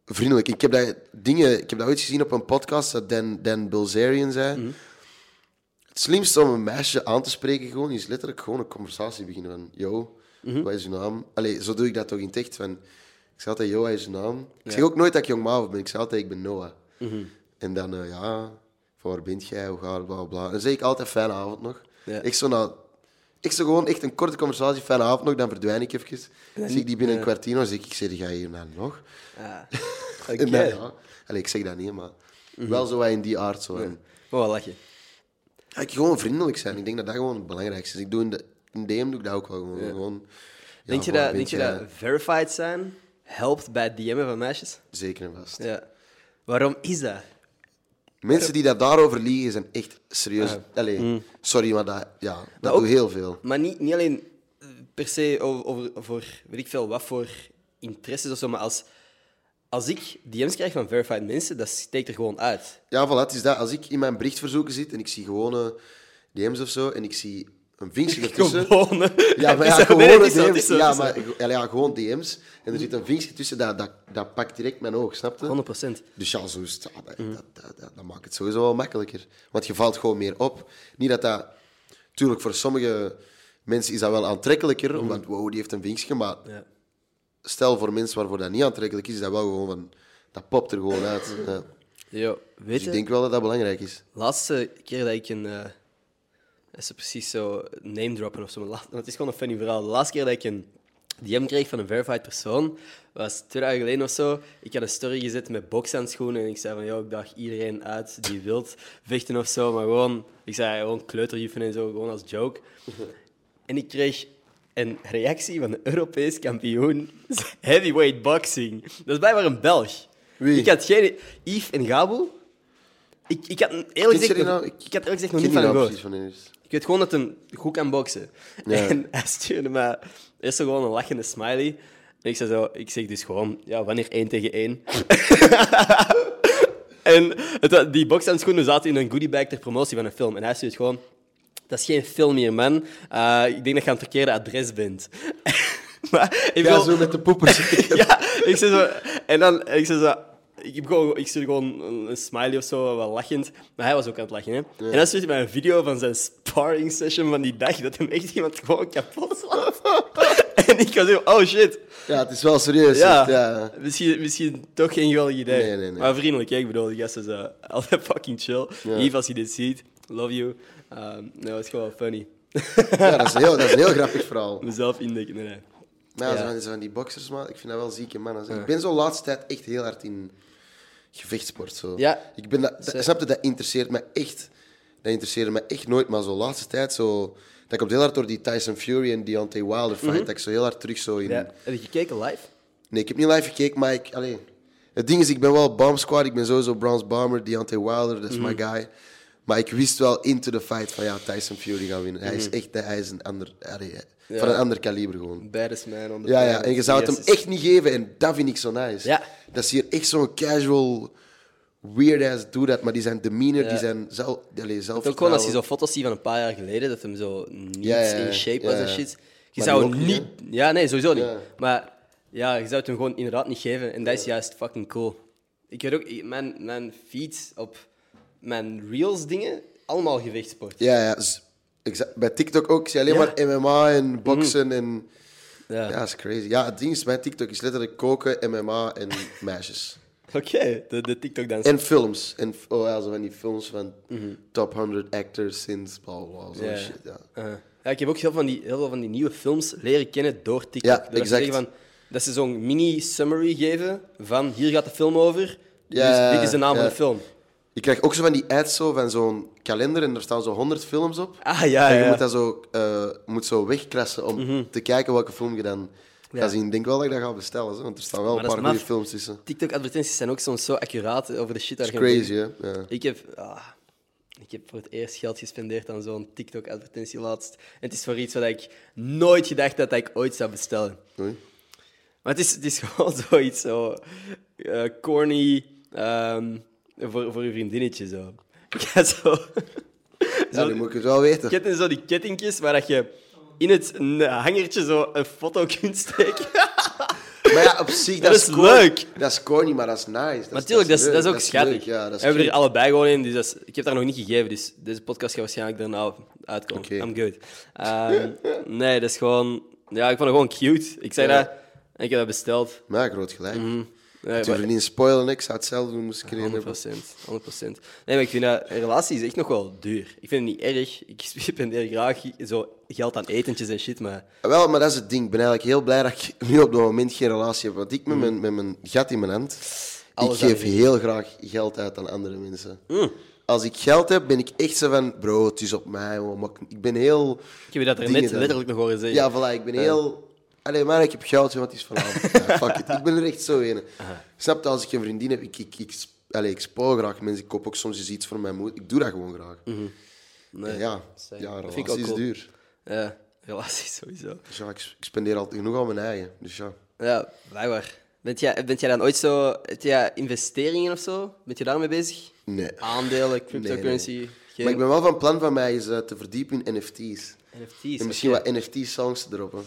S1: vriendelijk. Ik heb, dat, dingen, ik heb dat ooit gezien op een podcast dat Dan, Dan Bilzerian zei.
S2: Mhm.
S1: Het slimste om een meisje aan te spreken gewoon, is letterlijk gewoon een conversatie beginnen van, yo,
S2: Mhm.
S1: wat is je naam? Allee, zo doe ik dat toch in het echt. Van, ik zeg altijd, yo, wat is je naam? Ik zeg ook nooit dat ik jong Mavo ben, ik zeg altijd, ik ben Noah.
S2: Mhm.
S1: En dan, eh, ja, van waar bent jij, hoe gaat het, bla, bla, bla. En dan zeg ik altijd, fijne avond nog.
S2: Ja.
S1: Ik zo na... Ik zo gewoon echt een korte conversatie, fijne avond nog, dan verdwijn ik even. Zie ik die
S2: eh.
S1: binnen een kwartier, dan zeg ik, ik zeg, ga je hierna nog?
S2: Ah.
S1: En
S2: Oké. Mhm.
S1: dan, ja. Allee, ik zeg dat niet, maar wel zo wat in die aard. Zo. En,
S2: Oh, lach je.
S1: ja, ik gewoon vriendelijk zijn. Ik denk dat dat gewoon het belangrijkste is. Ik doe in, de, in DM doe ik dat ook wel gewoon. gewoon ja,
S2: denk je,
S1: waar
S2: dat,
S1: ben
S2: denk je
S1: jij?
S2: dat verified zijn helpt bij het DM'en van meisjes?
S1: Zeker en vast.
S2: Ja. Waarom is dat?
S1: Mensen die dat daarover liegen zijn echt serieus. Allee, sorry, maar dat, ja, dat,
S2: ook-
S1: doe heel veel.
S2: Mm. Maar niet, niet alleen eh, per se over, over, voor, weet ik veel, wat voor interesses of zo, maar als, als ik DM's krijg van verified mensen, dat steekt er gewoon uit.
S1: Ja, voilà, het is dat. Als ik in mijn berichtverzoeken zit en ik zie gewone DM's of zo en ik zie een vinkje ertussen.
S2: Gewoon.
S1: Ja, maar ja,
S2: Het is zo-
S1: gewoon
S2: nee, het is zo, het
S1: DM's.
S2: is zo, het
S1: Ja,
S2: is zo.
S1: maar ja, ja, gewoon DM's. En er zit een vinkje tussen, dat, dat, dat pakt direct mijn oog, snap je?
S2: 100%.
S1: Dus ja, zo is het, ja,
S2: Mhm.
S1: dat, dat, dat, dat, dat maakt het sowieso wel makkelijker. Want je valt gewoon meer op. Niet dat dat... Tuurlijk, voor sommige mensen is dat wel aantrekkelijker, omdat, wow, die heeft een vinkje. Maar
S2: Mhm. Ja.
S1: stel voor mensen waarvoor dat niet aantrekkelijk is, is dat wel gewoon van... Dat popt er gewoon uit. Ja.
S2: Yo, weet
S1: Dus
S2: je,
S1: ik denk wel dat dat belangrijk is.
S2: laatste keer dat ik een... eh, dat ze precies zo name droppen of zo. maar la- want het is gewoon een funny verhaal. De laatste keer dat ik een DM kreeg van een verified persoon, was twee dagen geleden of zo. Ik had een story gezet met bokshandschoenen en ik zei van, joh, ik daag iedereen uit die wilt vechten of zo. Maar gewoon, ik zei gewoon kleuterjuffen en zo, gewoon als joke. En ik kreeg een reactie van een Europees kampioen heavyweight boxing. Dat is blijkbaar een Belg.
S1: Wie?
S2: Ik had geen... Yves en Gabo? Ik, ik had eerlijk gezegd,
S1: die
S2: nog-
S1: nou?
S2: ik,
S1: Ik-
S2: had eerlijk gezegd nog
S1: Ik
S2: niet
S1: weet niet
S2: van hem
S1: nou
S2: gehoord.
S1: precies van hen is.
S2: Ik weet gewoon dat hij goed kan boksen.
S1: Ja.
S2: En hij stuurde me eerst zo gewoon een lachende smiley. En ik zei zo, ik zeg dus gewoon, ja, wanneer één tegen één? en het, wa- die bokshandschoenen zaten in een goodiebag ter promotie van een film. En hij stuurt gewoon, dat is geen film hier, man. Eh, ik denk dat je aan het verkeerde adres bent. maar ik
S1: Ja,
S2: wil,
S1: zo met de poepers.
S2: ja, ik zei zo... En dan, ik zei zo... Ik, heb gewoon, ik stuurde gewoon een, een smiley of zo, wel lachend. Maar hij was ook aan het lachen, hè. En dan stuurde hij mij een video van zijn sparring session van die dag, dat hem echt iemand gewoon kapot slaat. en ik was zo, oh shit.
S1: ja, het is wel serieus.
S2: Ja,
S1: echt, ja.
S2: Misschien, misschien toch geen geweldig idee.
S1: Nee, nee, nee.
S2: Maar vriendelijk, hè. ik bedoel, die gast is eh, altijd fucking chill. Yves, als je dit ziet, love you. Ehm, nou, het is gewoon wel funny.
S1: Ja, dat is een heel, dat is een heel grappig verhaal.
S2: Mezelf indekken, nee, nee.
S1: Maar ja,
S2: Ja.
S1: Zo, van, die- zo van die boxers, man. Ik vind dat wel zieke mannen. zeg. Ik ben zo de laatste tijd echt heel hard in gevechtsport. Zo.
S2: Ja.
S1: Ik ben dat,
S2: Ze-
S1: dat, snap je, dat interesseert me echt. Dat interesseerde me echt nooit, maar zo de laatste tijd zo... Dat komt heel hard door die Tyson Fury en Deontay Wilder fight. Dat ik zo heel hard terug zo in...
S2: Mhm. Ja. Heb je gekeken live?
S1: Nee, ik heb niet live gekeken, maar ik... Allee, het ding is, ik ben wel Bomb Squad. Ik ben sowieso Bronze Bomber, Deontay Wilder. Dat is
S2: Mm.
S1: my guy. Maar ik wist wel into the fight van ja, Tyson Fury gaat winnen. Hij is
S2: Mm-hmm.
S1: echt hij is een ander, allee, van een ander kaliber gewoon.
S2: Baddest man on the
S1: Ja, ja,
S2: planet.
S1: en je zou het
S2: eh, Yes.
S1: hem echt niet geven. En dat vind ik zo nice.
S2: Ja.
S1: Dat is hier echt zo'n casual, weird-ass doe dat. Maar die zijn demeanor, die zijn zelf, allee, zelf
S2: Ook gewoon als je zo foto's ziet van een paar jaar geleden, dat hem zo niet
S1: Ja, ja, ja.
S2: in shape
S1: Ja,
S2: was en
S1: ja.
S2: shit. Je
S1: Maar
S2: zou
S1: nu ook
S2: hem
S1: niet,
S2: niet... Ja, nee, sowieso niet.
S1: Ja.
S2: Maar ja, je zou het hem gewoon inderdaad niet geven. En dat is juist fucking cool. Ik weet ook, ik- mijn, mijn feeds op mijn reels dingen, allemaal gewichtsport.
S1: Ja, ja. z- exa- Bij TikTok ook. Ik zie alleen
S2: Ja. Mm.
S1: maar MMA en boksen en...
S2: Ja.
S1: Ja, dat is crazy. Ja, het ding is, mijn TikTok is letterlijk koken, MMA en meisjes.
S2: Oké, de, de TikTok dans.
S1: En films. En, oh ja, zo van die films van top 100 actors since bla bla bla. Zo'n
S2: Mhm. Ja.
S1: shit, ja.
S2: Uh-huh. ja, ik heb ook heel, van die, heel veel van die nieuwe films leren kennen door TikTok.
S1: Ja,
S2: Doordat ze
S1: exact.
S2: zeggen van, dat ze zo'n mini-summary geven van hier gaat de film over,
S1: Ja,
S2: dus dit is de naam van
S1: ja.
S2: de film.
S1: Je krijgt ook zo van die ads zo, van zo'n kalender en er staan zo 100 films op.
S2: Ah ja,
S1: En je
S2: ja. Mhm.
S1: moet dat zo, eh, moet zo wegkrassen om te kijken welke film je dan gaat zien. Ik denk wel dat ik dat ga bestellen, zo, want er staan wel
S2: Maar
S1: een
S2: dat
S1: paar
S2: is
S1: goede
S2: maf.
S1: films tussen.
S2: TikTok-advertenties zijn ook soms zo accuraat over de shit daar
S1: Dat is crazy, hè? Ja.
S2: Ik heb, ah, ik heb voor het eerst geld gespendeerd aan zo'n TikTok-advertentie laatst. En het is voor iets wat ik nooit gedacht had dat ik ooit zou bestellen.
S1: Oei.
S2: Maar het is, het is gewoon zoiets zo eh, corny ehm, voor, voor je vriendinnetje zo. Ik had zo,
S1: Ja,
S2: zo
S1: nu moet ik het wel weten.
S2: je hebt zo die kettingjes waar dat je in het n- hangertje zo een foto kunt steken.
S1: Maar ja, op zich, dat,
S2: Dat is
S1: corny.
S2: leuk.
S1: Dat is corny, maar dat is nice. Dat is-
S2: Maar natuurlijk, dat is,
S1: leuk,
S2: dat is ook
S1: leuk,
S2: schattig.
S1: Ja, dat
S2: we hebben
S1: is cute.
S2: er allebei gewoon in, dus dat is- ik heb daar nog niet gegeven, dus deze podcast gaat waarschijnlijk daarna uitkomen.
S1: Oké.
S2: I'm good. Ehm, nee, dat is gewoon... Ja, ik vond het gewoon cute. Ik zei
S1: Ja.
S2: dat en ik heb dat besteld.
S1: Maar groot gelijk.
S2: Nee, Mhm. maar-
S1: Natuurlijk niet spoilen, ik zou hetzelfde doen, moest ik erin hebben.
S2: 100%, 100%. Nee, maar ik vind dat een relatie is echt nog wel duur. Ik vind het niet erg. Ik spendeer graag zo geld aan etentjes en shit, maar
S1: Wel, maar dat is het ding. Ik ben eigenlijk heel blij dat ik nu op dat moment geen relatie heb. Want ik met mijn, met mijn gat in mijn hand,
S2: Mhm. Alles
S1: ik
S2: aan Mhm.
S1: geef
S2: vrienden.
S1: heel graag geld uit aan andere mensen. Als ik geld heb, ben ik echt zo van, bro, het is op mij. hoor, maar ik- Ik ben heel...
S2: ik heb je dat er
S1: dingen
S2: net
S1: dan.
S2: letterlijk nog horen zeggen.
S1: Ja, voilà, ik ben heel... Allee, maar ik heb geld, want het is vanavond. Ja, fuck it. Ik ben er echt zo in. Snap je, als ik een vriendin heb, ik, ik, ik, sp- allee, ik spoil graag mensen. Ik koop ook soms eens iets voor mijn moeder. Ik doe dat gewoon graag. En ja, ja,
S2: same. Mhm. Dat
S1: relatie
S2: vind ik ook
S1: is
S2: cool.
S1: duur.
S2: Ja, relatie sowieso.
S1: Dus ja, ik, ik spendeer altijd genoeg aan mijn eigen. Dus ja.
S2: Ja, blijkbaar. Bent jij, bent jij dan ooit zo... Heb jij investeringen of zo? Bent je daarmee bezig?
S1: Nee.
S2: Aandelen, cryptocurrency,
S1: Nee, nee.
S2: geen
S1: Maar ik ben wel van plan van mij is eh, te verdiepen in NFT's.
S2: NFT's.
S1: En misschien
S2: oké.
S1: wat NFT-songs te droppen.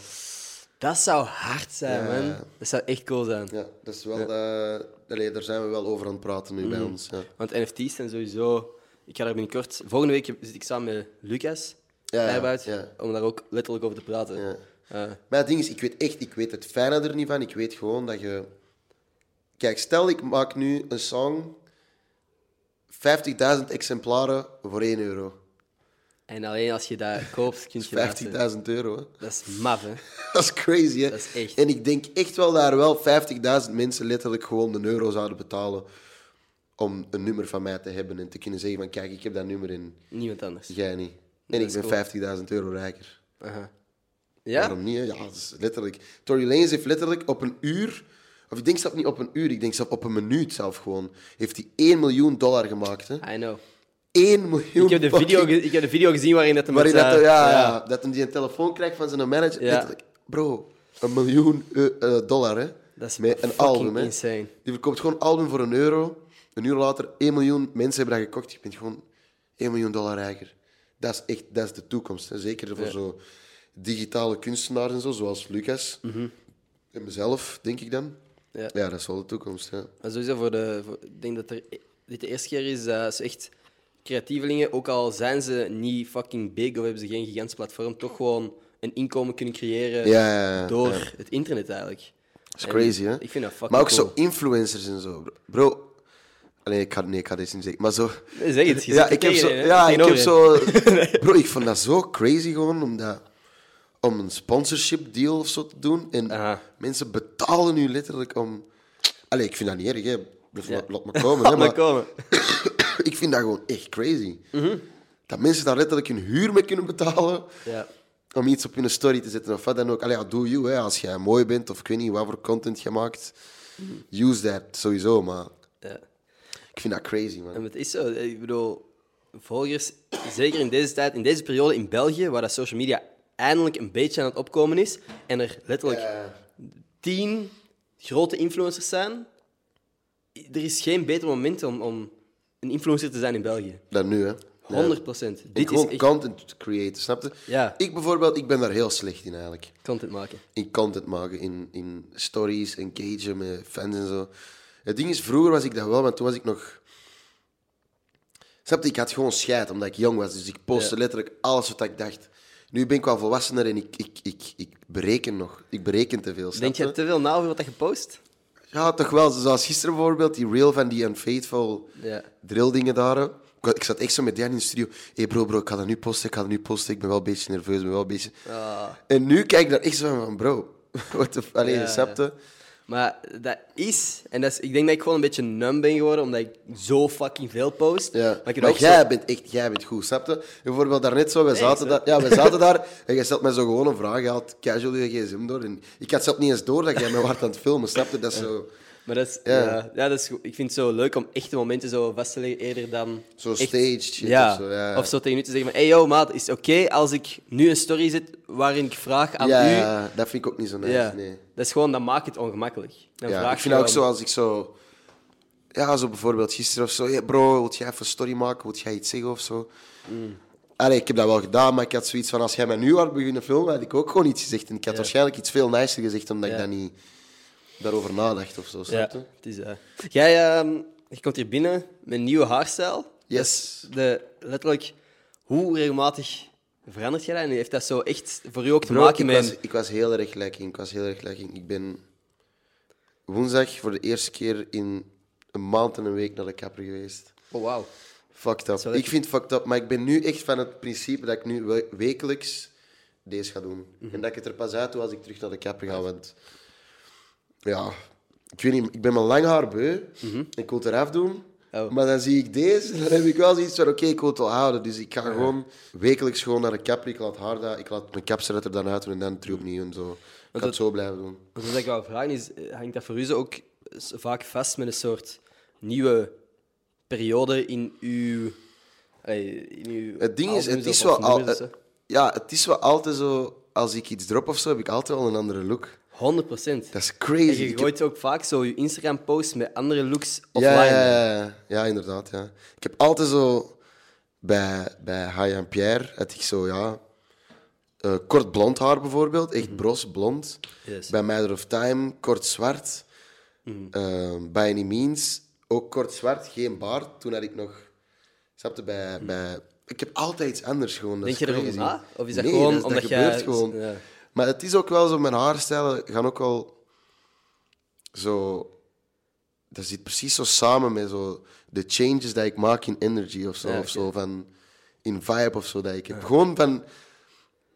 S2: Dat zou hard zijn,
S1: Ja.
S2: man. Dat zou echt cool zijn.
S1: Ja, dat is wel, eh, allee, daar zijn we wel over aan het praten nu
S2: Mhm.
S1: bij ons. Ja.
S2: Want NFT's zijn sowieso. Ik ga daar binnenkort. Volgende week zit ik samen met Lucas.
S1: Ja, ja,
S2: Bijbuit,
S1: ja.
S2: Om daar ook letterlijk over te praten.
S1: Ja.
S2: Eh,
S1: Maar het ding is, ik weet echt, ik weet het fijne er niet van. Ik weet gewoon dat je... Kijk, stel ik maak nu een song, 50.000 exemplaren voor 1 euro.
S2: en alleen als je dat koopt, kun je dat.
S1: 50.000 euro, hè.
S2: Dat is maf, hè?
S1: Dat is crazy, hè?
S2: Dat is echt.
S1: En ik denk echt wel daar wel 50.000 mensen letterlijk gewoon een euro zouden betalen om een nummer van mij te hebben en te kunnen zeggen van kijk, ik heb dat nummer in,
S2: Niemand anders.
S1: jij niet.
S2: Dat
S1: En ik
S2: is
S1: ben
S2: cool.
S1: 50.000 euro rijker.
S2: Aha. Ja?
S1: Waarom niet? hè? Ja, dat is letterlijk. Tory Lanez heeft letterlijk op een uur, of ik denk zelf niet op een uur, ik denk zelf op een minuut zelf gewoon, heeft hij 1 miljoen dollar gemaakt. Hè?
S2: I know.
S1: 1 miljoen
S2: Ik heb, de video
S1: fucking-
S2: ge- ik heb de video gezien waarin dat hem
S1: Waarin
S2: het,
S1: dat,
S2: eh,
S1: ja, ja. dat hem die een telefoon krijgt van zijn manager.
S2: Ja.
S1: Letterlijk, bro, een miljoen eh, eh, dollar, hè?
S2: Dat is
S1: Met een
S2: fucking
S1: album, hè?
S2: insane.
S1: Die verkoopt gewoon een album voor een euro. Een uur later, 1 miljoen mensen hebben dat gekocht. Je bent gewoon 1 miljoen dollar rijker. Dat is echt dat is de toekomst. Hè? Zeker voor zo digitale kunstenaars en zo, zoals Lucas. En mezelf, denk ik dan.
S2: Mhm. Ja.
S1: ja dat is wel de toekomst. Ja.
S2: Maar sowieso voor de. voor- ik denk dat er, e- dit de eerste keer is dat ze echt creatievelingen, ook al zijn ze niet fucking big of hebben ze geen gigantisch platform, toch gewoon een inkomen kunnen creëren
S1: Ja, ja, ja.
S2: door
S1: Ja.
S2: het internet eigenlijk.
S1: Dat is crazy, hè?
S2: Ik vind dat fucking
S1: Maar ook
S2: cool.
S1: zo influencers en zo. Bro, Nee, ik ga, nee, ik ga dit niet zeggen. Maar zo...
S2: Zeg het, je
S1: Ja,
S2: zit er
S1: ik heb
S2: tegen,
S1: zo...
S2: hè?
S1: Ja, ik heb
S2: Tegenover.
S1: zo... Bro, ik vond dat zo crazy gewoon om, dat, om een sponsorship deal of zo te doen. En
S2: Aha.
S1: mensen betalen nu letterlijk om... Allee, ik vind dat niet erg, hè. Laat me-
S2: Ja.
S1: Laat me komen,
S2: Laat
S1: hè.
S2: maar
S1: Maar
S2: komen. Mhm.
S1: ik vind dat gewoon echt crazy. Dat mensen daar letterlijk hun huur mee kunnen betalen
S2: Ja.
S1: om iets op hun story te zetten of wat dan ook. Allee, ja, do you, hè. Als jij mooi bent of ik weet niet wat voor content je maakt, use that sowieso, maar...
S2: ja.
S1: Ik vind dat crazy, man.
S2: En het is zo. Ik bedoel, volgers, zeker in deze tijd, in deze periode in België, waar dat social media eindelijk een beetje aan het opkomen is, en er letterlijk
S1: Eh,
S2: tien grote influencers zijn, er is geen beter moment om, om een influencer te zijn in België. 100%.
S1: Dat nu, hè. En
S2: Dit is
S1: gewoon
S2: echt
S1: content creëren, snap je?
S2: Ja.
S1: Ik bijvoorbeeld, ik ben daar heel slecht in eigenlijk.
S2: content maken.
S1: In content maken, in, in stories, engagen met fans en zo. Het ding is, vroeger was ik dat wel, maar toen was ik nog... Snap je, ik had gewoon scheid, omdat ik jong was. Dus ik postte
S2: Ja.
S1: letterlijk alles wat ik dacht. Nu ben ik wel volwassener en ik, ik, ik, ik bereken nog. Ik bereken te veel, snap
S2: Denk je
S1: je?
S2: te veel na over wat dat je post?
S1: Ja, toch wel. Zoals gisteren bijvoorbeeld, die reel van die Unfaithful
S2: Ja.
S1: drilldingen daar. hè. Ik, had- ik zat echt zo met Jan in de studio. Hé hey bro, bro, ik ga dat nu posten, ik ga dat nu posten. Ik ben wel een beetje nerveus, ik ben wel een beetje... En nu kijk ik daar echt zo van, bro, wat de... Allee,
S2: Ah. Ja,
S1: je snapt het?
S2: Maar dat is, en dat is, ik denk dat ik gewoon een beetje num ben geworden omdat ik zo fucking veel post.
S1: Ja.
S2: ik heb
S1: Maar
S2: ook zo-
S1: jij bent echt, jij bent goed, snap je? En Bijvoorbeeld daarnet zo, wij zaten,
S2: hè?
S1: daar, ja, wij zaten daar en jij stelt mij zo gewoon een vraag. Je haalt casual je gsm door en ik had zelf niet eens door dat jij mij hard aan het filmen, snap je? Dat is zo...
S2: Maar dat is,
S1: Ja.
S2: ja. Ja, dat is, goed. ik vind het zo leuk om echte momenten zo vast te leggen eerder dan...
S1: Zo
S2: echt-
S1: staged shit
S2: ja.
S1: of zo, ja, ja.
S2: Of zo tegen u te zeggen van... Hey yo, maat, is het oké als ik nu een story zet waarin ik vraag aan
S1: ja,
S2: u...
S1: ja, dat vind ik ook niet zo nice,
S2: Ja.
S1: nee.
S2: Dat is gewoon, dat maakt het ongemakkelijk. Dan
S1: Ja,
S2: vraag
S1: ik
S2: je
S1: vind dat ook zo
S2: gewoon-
S1: als ik zo... Ja, zo bijvoorbeeld gisteren of zo. "Hey, bro, wilt jij even een story maken? Wilt jij iets zeggen of zo?
S2: Mm.
S1: Allee, ik heb dat wel gedaan, maar ik had zoiets van... Als jij mij nu had beginnen filmen, had ik ook gewoon iets gezegd. En ik had waarschijnlijk iets veel nicer gezegd, omdat
S2: Ja.
S1: ik dat niet daarover nadacht of zo.
S2: Ja,
S1: snap je?
S2: het is... eh, Jij ehm, je komt hier binnen met een nieuwe haarstijl.
S1: Yes.
S2: De, letterlijk, hoe regelmatig verandert jij dat? En heeft dat zo echt voor u ook te
S1: Bro,
S2: maken
S1: ik,
S2: met...
S1: was, ik was heel erg lekker. Ik was heel erg lekker. Ik ben woensdag voor de eerste keer in een maand en een week naar de kapper geweest.
S2: Oh, wauw.
S1: Fucked up.
S2: Zou dat-
S1: Ik vind fucked up, maar ik ben nu echt van het principe dat ik nu we- wekelijks deze ga doen. En dat ik het er pas uit doe als ik terug naar de kapper ga, want... Ja, ik weet niet, ik ben mijn lang haar beu. Ik wil het eraf doen.
S2: Oh.
S1: Maar dan zie ik deze, dan heb ik wel zoiets van, oké, ik wil het wel houden. Dus ik ga gewoon wekelijks gewoon naar de kapper. Ik laat haar dat, ik laat mijn kapster er dan uit doen en dan terug opnieuw en zo. Ik ga het zo blijven doen.
S2: Want wat ik wou vragen is, eh, hangt dat voor u zo ook s- vaak vast met een soort nieuwe periode in uw... allee, in uw
S1: Het ding is,
S2: albums
S1: het is,
S2: of-
S1: wel
S2: of
S1: al,
S2: nummers of zo?
S1: ja, het is wel altijd zo... Als ik iets drop of zo, heb ik altijd wel een andere look.
S2: 100 procent.
S1: Dat is crazy.
S2: En Dus je
S1: Ik
S2: gooit ook vaak zo je Instagram-posts met andere looks offline.
S1: Ja, ja, ja, ja. Ja, inderdaad. Ja. Ik heb altijd zo bij, bij Hai en Pierre had ik zo, ja. eh, kort blond haar bijvoorbeeld, echt bros blond.
S2: Mhm. Yes.
S1: Bij Matter of Time kort zwart.
S2: Mm.
S1: Eh, by Any Means ook kort zwart, geen baard. Toen had ik nog. Snap je, bij, bij. Ik heb altijd iets anders gewoon. dat
S2: Mm. Denk
S1: is
S2: je erover
S1: crazy.
S2: na? Of is dat
S1: Nee,
S2: gewoon
S1: dat, dat
S2: omdat jij-
S1: gebeurt gewoon.
S2: Ja.
S1: Maar het is ook wel zo, mijn haarstijlen gaan ook wel zo. Dat zit precies zo samen met zo de changes die ik maak in energy of zo,
S2: Ja,
S1: of zo van in vibe of zo. Dat ik heb gewoon van.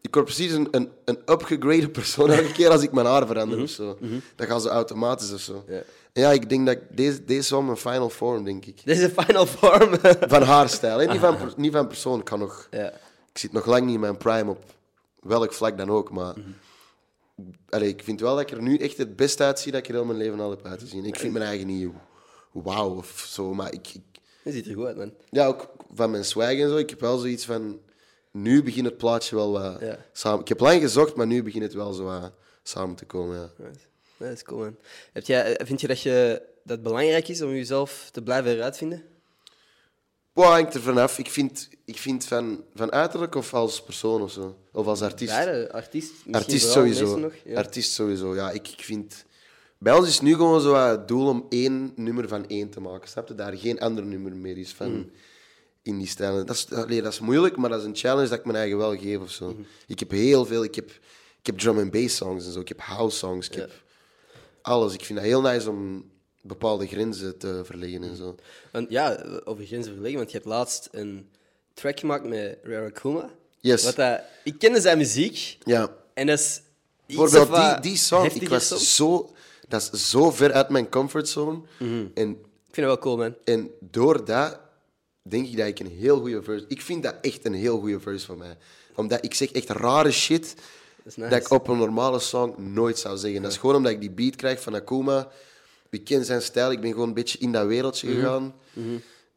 S1: Ik word precies een, een, een upgegrade persoon elke keer als ik mijn haar verander of zo. Dat gaat zo automatisch of zo.
S2: Mhm. Ja.
S1: En ja, ik denk dat ik- deze, deze is wel mijn final form, denk ik.
S2: Dit is de final form.
S1: Van haarstijl, hè? Niet, van, per- niet van persoon. Ik, kan nog,
S2: ja.
S1: ik zit nog lang niet in mijn prime op welk vlak dan ook, maar...
S2: Mhm.
S1: Allee, ik vind wel dat ik er nu echt het best uitzie dat ik er heel mijn leven al heb uit te zien. Ik vind mijn eigen niet wauw of zo, maar ik, ik...
S2: Dat ziet er goed uit, man.
S1: Ja, ook van mijn swag en zo, ik heb wel zoiets van... Nu begint het plaatje wel wat
S2: Ja.
S1: samen... Ik heb lang gezocht, maar nu begint het wel zo wat samen te komen, ja.
S2: Nice. Dat is cool, man. Heb jij, eh, vind je dat, je dat het belangrijk is om jezelf te blijven heruitvinden?
S1: Wat hangt er vanaf? Ik vind, ik vind van, van uiterlijk of als persoon of zo? Of als artiest?
S2: Beide, artiest. misschien
S1: Artiest
S2: vooral
S1: sowieso.
S2: mensen nog, ja.
S1: Artiest sowieso, ja. Ik, ik vind... Bij ons is nu gewoon zo wat het doel om één nummer van één te maken. Snap je? Daar geen ander nummer meer is van
S2: Mm.
S1: in die stijlen. Dat is, allee, dat is moeilijk, maar dat is een challenge dat ik mijn eigen wel geef of zo.
S2: Mm-hmm.
S1: Ik heb heel veel... Ik heb, ik heb drum and bass songs en zo. Ik heb house songs. Ik heb alles. Ik vind dat heel nice om bepaalde grenzen te verleggen en
S2: Mm.
S1: zo.
S2: Want ja, over grenzen verleggen, want je hebt laatst een track gemaakt met Rarakuma.
S1: Yes.
S2: Wat dat, ik kende zijn muziek
S1: Ja.
S2: en dat is iets of
S1: Bijvoorbeeld
S2: wat
S1: die, die song, ik
S2: heftiger
S1: was
S2: soms.
S1: zo... Dat is zo ver uit mijn comfortzone.
S2: Mm-hmm.
S1: En,
S2: Ik vind dat wel cool, man.
S1: en door dat denk ik dat ik een heel goede verse... Ik vind dat echt een heel goede verse van mij. Omdat ik zeg echt rare shit
S2: Dat is nice.
S1: dat ik op een normale song nooit zou zeggen. Dat is gewoon omdat ik die beat krijg van Akuma. Ik ken zijn stijl. Ik ben gewoon een beetje in dat wereldje
S2: Mhm.
S1: gegaan.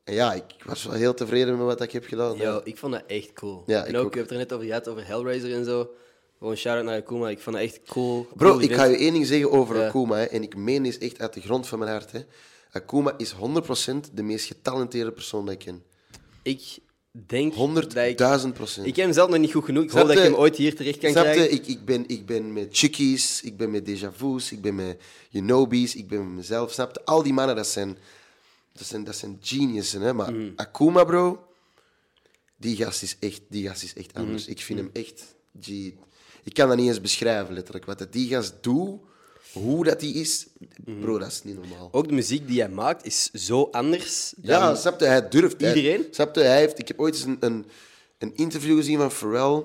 S1: En ja, ik was wel heel tevreden met wat ik heb gedaan.
S2: Yo, ik vond dat echt cool.
S1: Ja,
S2: en
S1: ik
S2: ook,
S1: ook.
S2: je hebt het er net over gehad, over Hellraiser en zo. Gewoon shout-out naar Akuma, ik vond dat echt cool.
S1: Bro,
S2: Cool
S1: ik
S2: event.
S1: ga je één ding zeggen over
S2: Ja.
S1: Akuma. Hè, en ik meen dit echt uit de grond van mijn hart. Hè. Akuma is 100% de meest getalenteerde persoon die ik ken.
S2: Ik denk dat ik...
S1: 100.000 procent.
S2: Ik ken hem zelf nog niet goed genoeg. Ik
S1: Snap
S2: hoop dat ik
S1: je?
S2: hem ooit hier terecht kan krijgen.
S1: Ik, ik, ben, ik ben met Chickies, ik ben met Deja Vu's, ik ben met Yonobis, ik ben met mezelf. Snapte? Al die mannen, dat zijn, dat zijn, dat zijn geniussen. Hè? Maar
S2: Mm.
S1: Akuma, bro, die gast is echt, die gast is echt anders.
S2: Mm-hmm.
S1: Ik vind
S2: Mm.
S1: hem echt... G, ik kan dat niet eens beschrijven, letterlijk. Wat dat die gast doet, hoe dat die is,
S2: Mm-hmm.
S1: bro, dat is niet normaal.
S2: Ook de muziek die hij maakt is zo anders.
S1: Ja,
S2: dan-
S1: snapte hij durft. Hij-
S2: Iedereen?
S1: snapte hij heeft, ik heb ooit eens een, een, een interview gezien van Pharrell,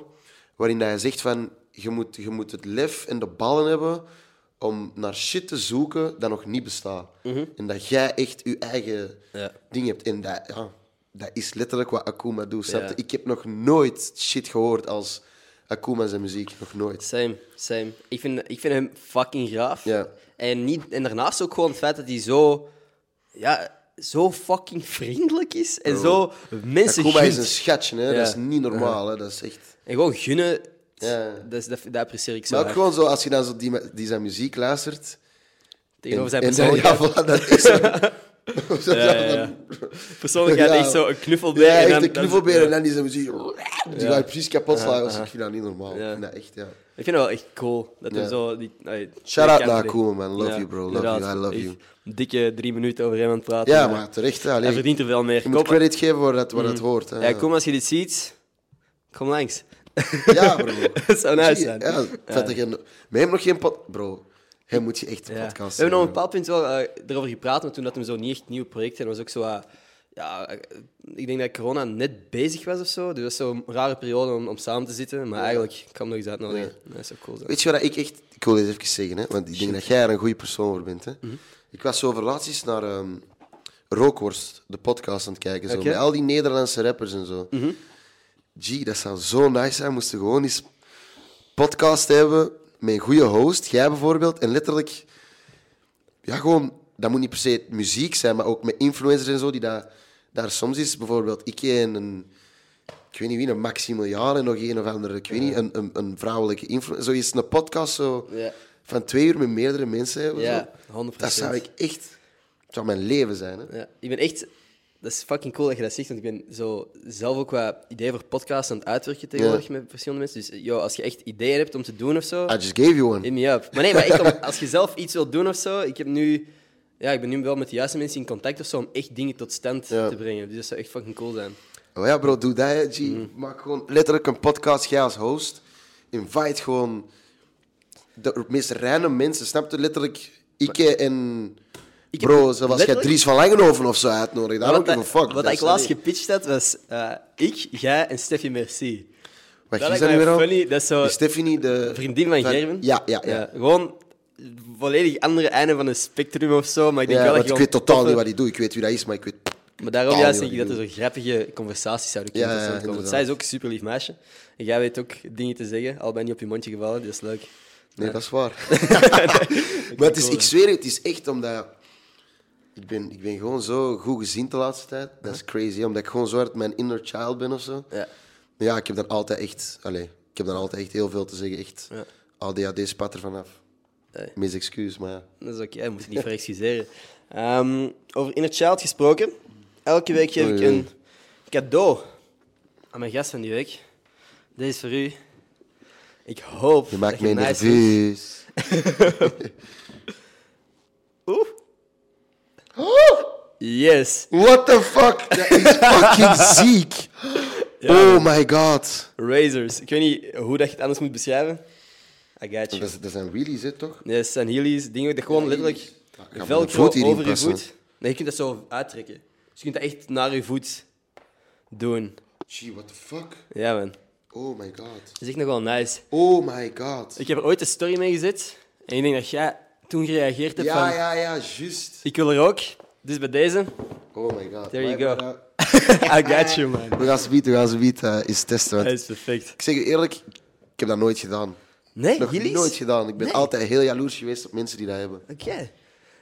S1: waarin hij zegt van, je moet, je moet het lef en de ballen hebben om naar shit te zoeken dat nog niet bestaat. En dat jij echt je eigen
S2: Mhm. Ja.
S1: ding hebt. En dat, ja, dat is letterlijk wat Akuma doet. Snapte?
S2: Ja.
S1: Ik heb nog nooit shit gehoord als Akuma zijn muziek. Nog nooit.
S2: Same, same. Ik vind, ik vind hem fucking gaaf.
S1: Ja.
S2: En, niet, en daarnaast ook gewoon het feit dat hij zo... Ja, zo fucking vriendelijk is. En zo mensen
S1: Akuma is
S2: gunt.
S1: een schatje, hè?
S2: Ja.
S1: dat is niet normaal. Hè? Dat is echt...
S2: En gewoon gunnen,
S1: Ja.
S2: dat, is, dat, dat apprecieer ik zo
S1: Maar ook
S2: hard.
S1: gewoon zo, als je dan zo die, die zijn muziek luistert...
S2: Tegenover zijn
S1: En- en-
S2: persoonlijkheid.
S1: Ja, voilà, dat is zo.
S2: Ja, ja, ja. Persoonlijkheid
S1: Ja.
S2: echt zo een knuffelbeer.
S1: Ja,
S2: en
S1: echt
S2: dan-
S1: een
S2: dan-
S1: knuffelbeer en dan die zijn muziek. Die
S2: Ja.
S1: ga je precies kapot slaan. jongens. Ik vind dat niet normaal.
S2: Ja.
S1: Ik vind dat echt, ja.
S2: Ik vind het wel echt cool. Dat
S1: Ja.
S2: hem zo die, allee,
S1: Shout-out
S2: die kant
S1: naar
S2: ligt.
S1: Akuma, man. Love you, bro. Love you.
S2: inderdaad.
S1: I love
S2: Echt
S1: you.
S2: een dikke drie minuten over hem aan het praten.
S1: Ja,
S2: maar
S1: maar terecht. ja,
S2: Hij
S1: allee.
S2: verdient er veel meer.
S1: je moet
S2: Kom,
S1: credit geven waar dat, waar dat hoort. Hè.
S2: Mm. ja, kom als je dit ziet. Kom langs.
S1: Ja, bro.
S2: Dat zou
S1: Zie
S2: nice
S1: je,
S2: zijn.
S1: Ja, het feit dat je... Met hem nog geen pod... Bro, hij moet je echt een
S2: Ja.
S1: podcast
S2: We hebben op
S1: doen,
S2: een bepaald punt wel eh, erover gepraat, maar toen dat hem zo niet echt nieuw project en was ook zo. wat, ja, eh, ik denk dat corona net bezig was of zo. Dus dat is zo'n rare periode om, om samen te zitten. Maar eigenlijk ik kan hem nog eens uitnodigen. Dat zou cool zijn.
S1: Weet je wat ik echt... Ik wil dit even zeggen, hè, want ik denk dat jij er een goede persoon voor bent. Hè. Ik was zo relaties naar ehm, Rookworst, de podcast aan het kijken. Zo,
S2: Oké.
S1: Met al die Nederlandse rappers en zo. Gee, dat zou zo nice zijn. Moesten we gewoon eens podcast hebben met een goede host. Jij bijvoorbeeld. En letterlijk... Ja, gewoon... Dat moet niet per se muziek zijn, maar ook met influencers en zo, die daar, daar soms is. Bijvoorbeeld, ik ken een ik weet niet wie, een Maximiliaan en nog een of andere, ik weet niet, een, een, een vrouwelijke influencer. Zo is een podcast zo
S2: Ja.
S1: van twee uur met meerdere mensen hebben.
S2: Ja,
S1: zo.
S2: 100%.
S1: Dat zou ik echt, dat zou mijn leven zijn. Hè?
S2: Ja, ik ben echt... Dat is fucking cool dat je dat zegt, want ik ben zo zelf ook wat ideeën voor podcasts aan het uitwerken tegenwoordig met verschillende mensen. Dus yo, als je echt ideeën hebt om te doen of zo,
S1: I just gave you one.
S2: hit me up. Maar nee, maar echt om- als je zelf iets wilt doen of zo, ik, heb nu, ja, ik ben nu wel met de juiste mensen in contact of zo om echt dingen tot stand
S1: Ja.
S2: te brengen. Dus dat zou echt fucking cool zijn.
S1: Oh ja, bro, doe dat. hè, G.
S2: Mm.
S1: Maak gewoon letterlijk een podcast, jij als host. Invite gewoon de meest random mensen. Snap je? Letterlijk, ik en...
S2: Ik heb
S1: bro, zoals jij
S2: letterlijk-
S1: Dries van Langenhoven of zo uitnodigen. Daar ook
S2: wat
S1: even
S2: dat-
S1: fuck.
S2: wat
S1: dat
S2: ik
S1: zou
S2: laatst
S1: niet-
S2: gepitcht had, was eh, ik, jij en Steffi Merci.
S1: Wat
S2: dat
S1: is
S2: lijkt
S1: dat nu
S2: mij
S1: weer al?
S2: funny, dat is zo-
S1: Is Stephanie de...
S2: Vriendin van Gerben? Eh,
S1: Ja, ja, ja.
S2: gewoon volledig andere einde van een spectrum of zo, maar ik denk
S1: Ja,
S2: wel dat
S1: want
S2: je
S1: ik weet
S2: gewoon
S1: totaal
S2: toffe-
S1: niet wat hij doet. Ik weet wie dat is, maar ik weet...
S2: Maar daarom
S1: Totaal
S2: juist
S1: niet
S2: denk ik
S1: wat
S2: dat er zo grappige conversaties zouden
S1: Ja,
S2: kunnen
S1: ja,
S2: tot stand komen. Want zij
S1: inderdaad.
S2: is ook een super lief meisje. En jij weet ook dingen te zeggen, al ben je niet op je mondje gevallen, dat is leuk.
S1: Nee, dat is waar. maar het is, ik zweer het, het is echt omdat... Ik ben, ik ben gewoon zo goed gezien de laatste tijd. Dat is crazy, omdat ik gewoon zo hard mijn inner child ben of zo.
S2: Ja.
S1: Maar ja, ik heb dan altijd echt... Allee, ik heb dan altijd echt heel veel te zeggen. Echt,
S2: Ja.
S1: ADHD spat er vanaf.
S2: Nee.
S1: Mis excuus, maar ja.
S2: Dat is oké, je moet je niet voor excuseren. Ehm, over Inner Child gesproken. Elke week geef ik
S1: Oei, oei.
S2: een cadeau aan mijn gast van die week. Deze is voor u. Ik hoop
S1: Je
S2: dat
S1: maakt mij
S2: je nice vindt.
S1: nerveus.
S2: Oeh. Yes.
S1: Oh, What the fuck? Dat is fucking ziek. Oh my god.
S2: Razors. Ik weet niet hoe dat je het anders moet beschrijven. I got you.
S1: Dat, is- dat zijn wheelies, hè, toch?
S2: Nee, dat zijn Heelys, dingen, dat gewoon letterlijk
S1: Ja, ik ga met mijn
S2: velcro
S1: hierin
S2: over je
S1: passen.
S2: voet. Nee, je kunt dat zo uittrekken. Dus je kunt dat echt naar je voet doen.
S1: Gee, what the fuck?
S2: Ja, man.
S1: Oh my god.
S2: Dat is echt nogal nice.
S1: Oh my god.
S2: Ik heb er ooit een story mee gezet. En ik denk dat jij toen gereageerd hebt
S1: Ja,
S2: van...
S1: ja, ja, juist.
S2: Ik wil er ook. Dus bij deze...
S1: Oh my god.
S2: There you
S1: Maar-
S2: go.
S1: maar-
S2: I got you, man.
S1: We gaan ze bieden, we gaan ze bieden, eh, eens testen. want
S2: Dat is perfect.
S1: Ik zeg je eerlijk, ik heb dat nooit gedaan.
S2: Nee,
S1: Nog
S2: jullie?
S1: nooit gedaan. Ik ben
S2: Nee.
S1: altijd heel jaloers geweest op mensen die dat hebben.
S2: Oké.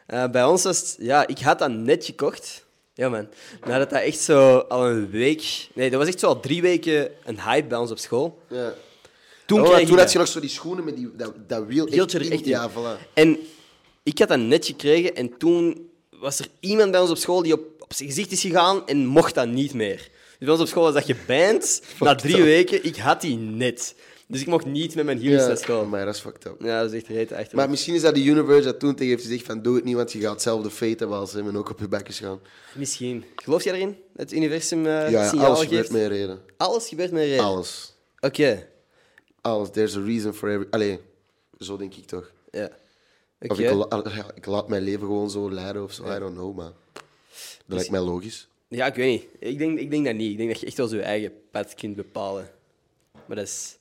S2: Eh, bij ons was het... Ja, ik had dat net gekocht. Ja, man. Nadat dat echt zo al een week... Nee, dat was echt zo al drie weken een hype bij ons op school.
S1: Ja.
S2: Toen
S1: Oh,
S2: kreeg ik
S1: toen
S2: dat.
S1: had je nog zo die schoenen met die, dat, dat wiel.
S2: Hield je er
S1: in.
S2: echt in.
S1: Ja, voilà.
S2: En ik had dat net gekregen en toen was er iemand bij ons op school die op, op zijn gezicht is gegaan en mocht dat niet meer. Dus bij ons op school was dat geband. Na drie weken, ik had die net. Dus ik mocht niet met mijn heels
S1: Ja,
S2: naar school.
S1: Maar dat is fucked up.
S2: Ja, dat is echt reet achter.
S1: Maar misschien is dat de universe dat toen tegen heeft gezegd van doe het niet, want je gaat hetzelfde fate hebben als hem en ook op je bek is gaan.
S2: Misschien. Geloof jij erin? Dat Het universum eh
S1: Ja, ja,
S2: signalen
S1: alles
S2: geeft?
S1: gebeurt met een reden.
S2: Alles gebeurt met reden.
S1: Alles.
S2: Oké.
S1: Alles. There's a reason for every... Allee, zo denk ik toch.
S2: Ja. Oké.
S1: Of ik, la- ja, ik laat mijn leven gewoon zo leiden of zo. I don't know, man. Dat
S2: Dus
S1: lijkt mij logisch.
S2: Ja, ik weet niet. Ik denk, ik denk dat niet. Ik denk dat je echt wel je eigen pad kunt bepalen. Maar dat is...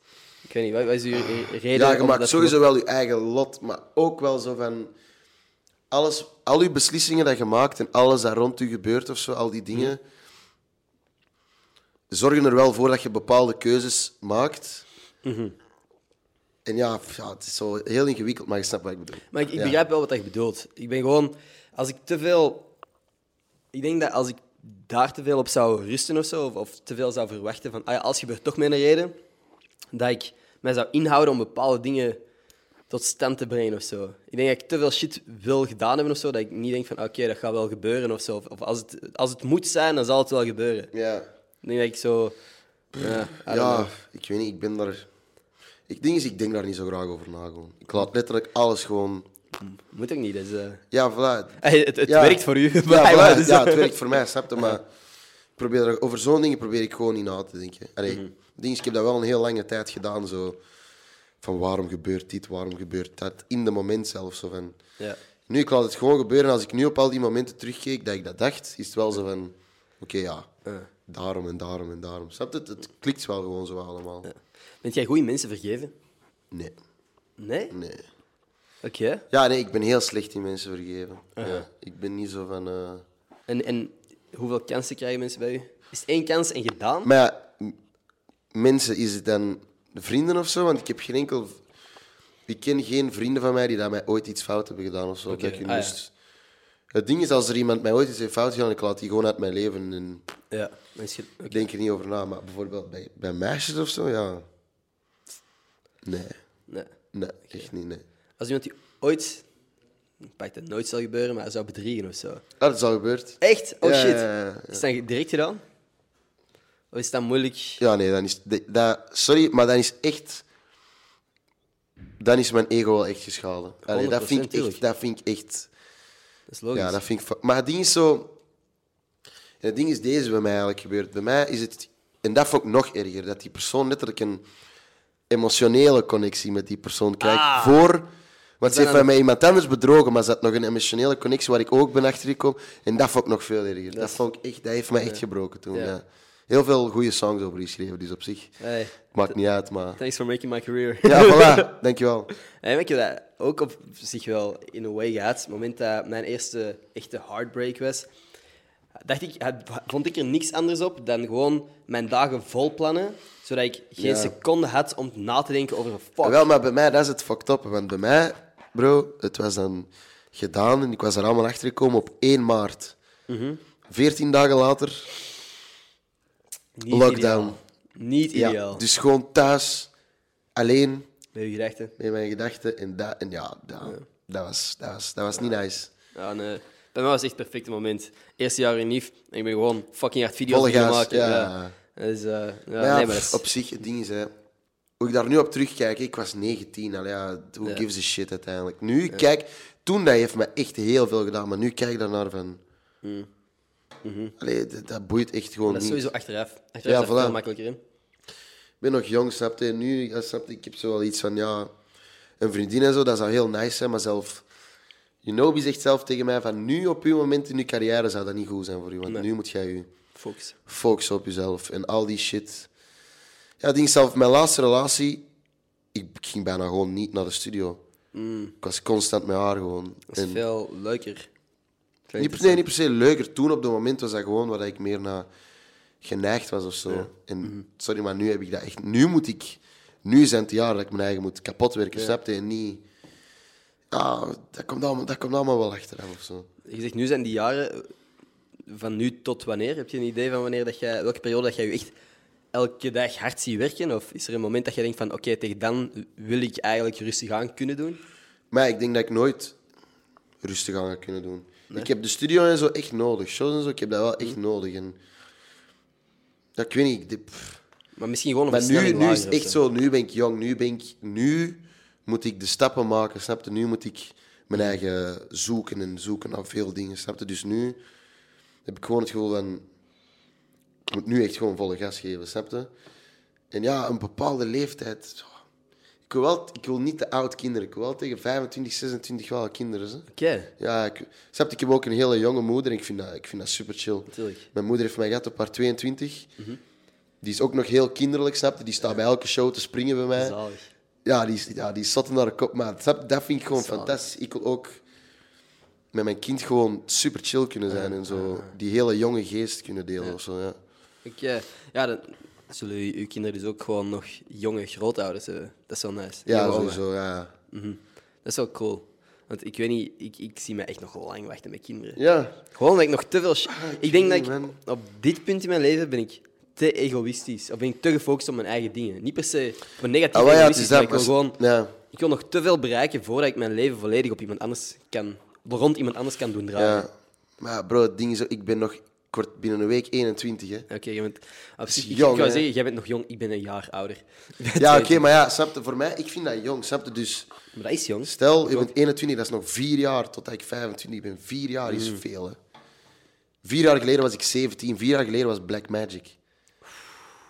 S2: Ik weet niet, wat, wat is uw re- reden?
S1: Ja, je
S2: om
S1: maakt
S2: dat-
S1: sowieso wel je eigen lot, maar ook wel zo van... Alles, al je beslissingen dat je maakt en alles dat rond je gebeurt of zo, al die dingen... Zorgen er wel voor dat je bepaalde keuzes maakt.
S2: Mhm.
S1: En ja, f- ja, het is zo heel ingewikkeld, maar je snapt wat ik bedoel.
S2: Maar ik, ik
S1: Ja.
S2: begrijp wel wat dat je bedoelt. Ik ben gewoon, als ik te veel. Ik denk dat als ik daar te veel op zou rusten of zo, of, of te veel zou verwachten van, ah ja, als gebeurt toch mijn reden, dat ik mij zou inhouden om bepaalde dingen tot stand te brengen of zo. Ik denk dat ik te veel shit wil gedaan hebben of zo, dat ik niet denk van, ah, oké, dat gaat wel gebeuren of zo. Of, of als, het, als het moet zijn, dan zal het wel gebeuren.
S1: Ja.
S2: Ik denk dat ik zo. Ja, I don't
S1: Ja,
S2: know.
S1: ik weet niet, ik ben daar... Ik denk, is, ik denk daar niet zo graag over na, gewoon. Ik laat letterlijk alles gewoon...
S2: moet ook niet. Dus, eh,
S1: Ja, voilà.
S2: hey, het het
S1: Ja.
S2: werkt voor u.
S1: Ja,
S2: blijkbaar,
S1: voilà.
S2: dus-
S1: ja, het werkt voor mij, snap je? Maar ik probeer er- over zo'n dingen probeer ik gewoon niet na te denken. Allee, het ding is, ik heb dat wel een heel lange tijd gedaan. Zo, van waarom gebeurt dit, waarom gebeurt dat? In de moment zelf. Zo van.
S2: Ja.
S1: Nu, ik laat het gewoon gebeuren. Als ik nu op al die momenten terugkeek dat ik dat dacht, is het wel zo van... Oké, ja. Daarom en daarom en daarom. Snap je? Het, het klikt wel gewoon zo allemaal.
S2: Bent jij goede mensen vergeven?
S1: Nee,
S2: Nee?
S1: nee.
S2: Oké.
S1: Ja, nee, ik ben heel slecht in mensen vergeven. ja, ik ben niet zo van... eh,
S2: En, en hoeveel kansen krijgen mensen bij u? Is het één kans en gedaan?
S1: Maar ja, m- mensen, is het dan vrienden of zo? Want ik heb geen enkel. Ik ken geen vrienden van mij die dat mij ooit iets fout hebben gedaan of zo. Dat ik hun
S2: ah ja.
S1: lust- Het ding is, als er iemand mij ooit iets heeft fout gedaan, ik laat die gewoon uit mijn leven en
S2: Ja. Dan is ge- oké.
S1: ik denk er niet over na. Maar bijvoorbeeld bij, bij meisjes of zo, ja. Nee,
S2: Nee.
S1: nee, echt niet. Nee.
S2: Als iemand die ooit... Ik pak dat nooit zal gebeuren, maar zou bedriegen of zo.
S1: Ah, Dat is al gebeurd.
S2: Echt? Oh
S1: Ja,
S2: shit.
S1: ja, ja, ja.
S2: Is dat direct gedaan? Of is dat moeilijk?
S1: Ja, nee, dan is. de- Dat, sorry, maar dan is echt. Dan is mijn ego wel echt geschaden. Allee, dat, vind ik
S2: 100%
S1: echt,
S2: tuurlijk.
S1: dat vind ik echt.
S2: Dat is logisch.
S1: Ja, dat vind ik... fa- Maar het ding is zo... en Het ding is deze bij mij eigenlijk gebeurd. Bij mij is het... En dat vond ik nog erger. Dat die persoon letterlijk een emotionele connectie met die persoon krijgt.
S2: Ah.
S1: Voor... Want ze
S2: dan
S1: heeft mij met iemand anders bedrogen, maar ze had nog een emotionele connectie waar ik ook ben achtergekomen. En dat vond ik nog veel erger. Dat, vond ik echt... Dat heeft mij echt gebroken toen,
S2: Ja.
S1: ja. Heel veel goede songs over geschreven, dus op zich...
S2: Hey.
S1: Maakt niet uit, maar...
S2: Thanks for making my career.
S1: Ja, voilà. Dankjewel.
S2: En ik heb dat ook op zich wel in een way gehad. Op het moment dat mijn eerste echte heartbreak was, dacht ik, had- vond ik er niks anders op dan gewoon mijn dagen vol plannen, zodat ik geen
S1: Ja.
S2: seconde had om na te denken over fuck.
S1: Wel, maar bij mij, dat is het fucked up. Want bij mij, bro, het was dan gedaan en ik was er allemaal achter gekomen op 1 maart.
S2: Mhm.
S1: Veertien dagen later,
S2: Niet
S1: lockdown.
S2: Ideaal. Niet ideaal.
S1: ja, dus gewoon thuis, alleen,
S2: Met je gedachten.
S1: met mijn gedachten. En, dat, en ja, dat, dat, was, dat, was, dat was niet nice.
S2: Ja, nee. Bij mij was het echt het perfecte moment. Eerste jaar in NIF en ik ben gewoon fucking hard
S1: Volle
S2: video's gaan
S1: gas,
S2: maken.
S1: ja.
S2: Dus, eh, ja,
S1: Maar ja,
S2: nee, maar dat is-
S1: op zich, het ding is, hè, hoe ik daar nu op terugkijk, ik was 19, al ja, who gives a shit uiteindelijk. Nu, kijk, toen dat heeft me echt heel veel gedaan, maar nu kijk ik daarnaar van... Allee, dat, dat boeit echt gewoon
S2: Mm. Mhm. dat
S1: niet.
S2: is sowieso achteraf. Achteraf
S1: Ja,
S2: is dat
S1: voilà.
S2: veel makkelijker in.
S1: Ik ben nog jong, snap je? Nu, ja, snap je, ik heb zo wel iets van, ja... Een vriendin en zo, dat zou heel nice zijn, maar zelf... Unobi zegt zelf tegen mij van nu op uw moment in uw carrière zou dat niet goed zijn voor u. Want nu moet jij je
S2: Focus.
S1: focussen op jezelf en al die shit. Ja, ding zelf, mijn laatste relatie, ik ging bijna gewoon niet naar de studio. Ik was constant met haar gewoon.
S2: Mm. Dat is
S1: En
S2: veel leuker. Veel
S1: niet per, nee, niet per se leuker. Toen op dat moment was dat gewoon waar ik meer naar geneigd was of zo. En sorry, maar nu heb ik dat echt. Nu moet ik. Nu is het het jaar dat ik mijn eigen moet kapotwerken, snap je? En niet. Ah, dat komt allemaal, dat komt allemaal wel achteraf of zo.
S2: Je zegt, nu zijn die jaren van nu tot wanneer? Heb je een idee van wanneer dat jij, welke periode dat jij je echt elke dag hard ziet werken? Of is er een moment dat jij denkt van, oké, tegen dan wil ik eigenlijk rustig aan kunnen doen?
S1: Maar ik denk dat ik nooit rustig aan ga kunnen doen. Ik heb de studio en zo echt nodig. Shows en zo, ik heb dat wel echt nodig. En, ja, ik weet niet. ik- dit- pff.
S2: Maar misschien gewoon een
S1: Maar nu,
S2: versnelling
S1: nu is
S2: lager
S1: het
S2: of
S1: echt zo, nu ben ik jong, nu ben ik... Nu moet ik de stappen maken, snap je? Nu moet ik mijn eigen zoeken en zoeken naar veel dingen, snap je? Dus nu heb ik gewoon het gevoel van... Ik moet nu echt gewoon volle gas geven, snap je? En ja, een bepaalde leeftijd... zo. Ik wil, wel, ik wil niet te oud kinderen. Ik wil wel tegen 25, 26 wel kinderen. Hè?
S2: Oké,
S1: Ja, ik, snap je, ik heb ook een hele jonge moeder en ik vind dat, ik vind dat super chill.
S2: Tuurlijk. Mhm.
S1: Mijn moeder heeft mij gehad op haar 22. Die is ook nog heel kinderlijk, snap je? Die staat bij elke show te springen bij mij.
S2: zalig.
S1: Ja, die, is- ja, die zat naar de kop. Maar snap je, dat vind ik gewoon
S2: Zalig.
S1: fantastisch. Ik wil ook met mijn kind gewoon super chill kunnen zijn en zo. Die hele jonge geest kunnen delen of zo, ja.
S2: Oké, eh, ja, dan zullen je- uw kinderen dus ook gewoon nog jonge grootouders hebben. Dat is wel nice.
S1: Ja,
S2: Jonge oma.
S1: sowieso, ja.
S2: Mhm. Dat is wel cool. Want ik weet niet, ik, ik zie me echt nog wel lang wachten met kinderen.
S1: Ja,
S2: Gewoon dat ik nog te veel. sh- ik denk dat
S1: weet
S2: ik
S1: niet, Ah, man.
S2: op dit punt in mijn leven ben ik te egoïstisch. Of ben ik te gefocust op mijn eigen dingen. Niet per se op een negatief
S1: Ah, wel, ja, het
S2: egoïstisch,
S1: is
S2: maar
S1: dat.
S2: ik wil
S1: maar-
S2: gewoon...
S1: Ja.
S2: Ik wil nog te veel bereiken voordat ik mijn leven volledig op iemand anders kan... Rond iemand anders kan doen draaien.
S1: ja. Maar bro, het ding is, ik ben nog kort binnen een week 21, hè.
S2: Oké, je bent... absoluut- ik, ik
S1: jong,
S2: wou
S1: hè?
S2: zeggen, jij bent nog jong, ik ben een jaar ouder.
S1: Ja, oké, maar ja, snap je, voor mij, ik vind dat jong, snap je? Dus
S2: Maar dat is jong.
S1: stel, je bent 21, dat is nog vier jaar totdat ik 25 ben. Vier jaar
S2: Mm.
S1: is veel, hè. Vier jaar geleden was ik 17, vier jaar geleden was Black Magic.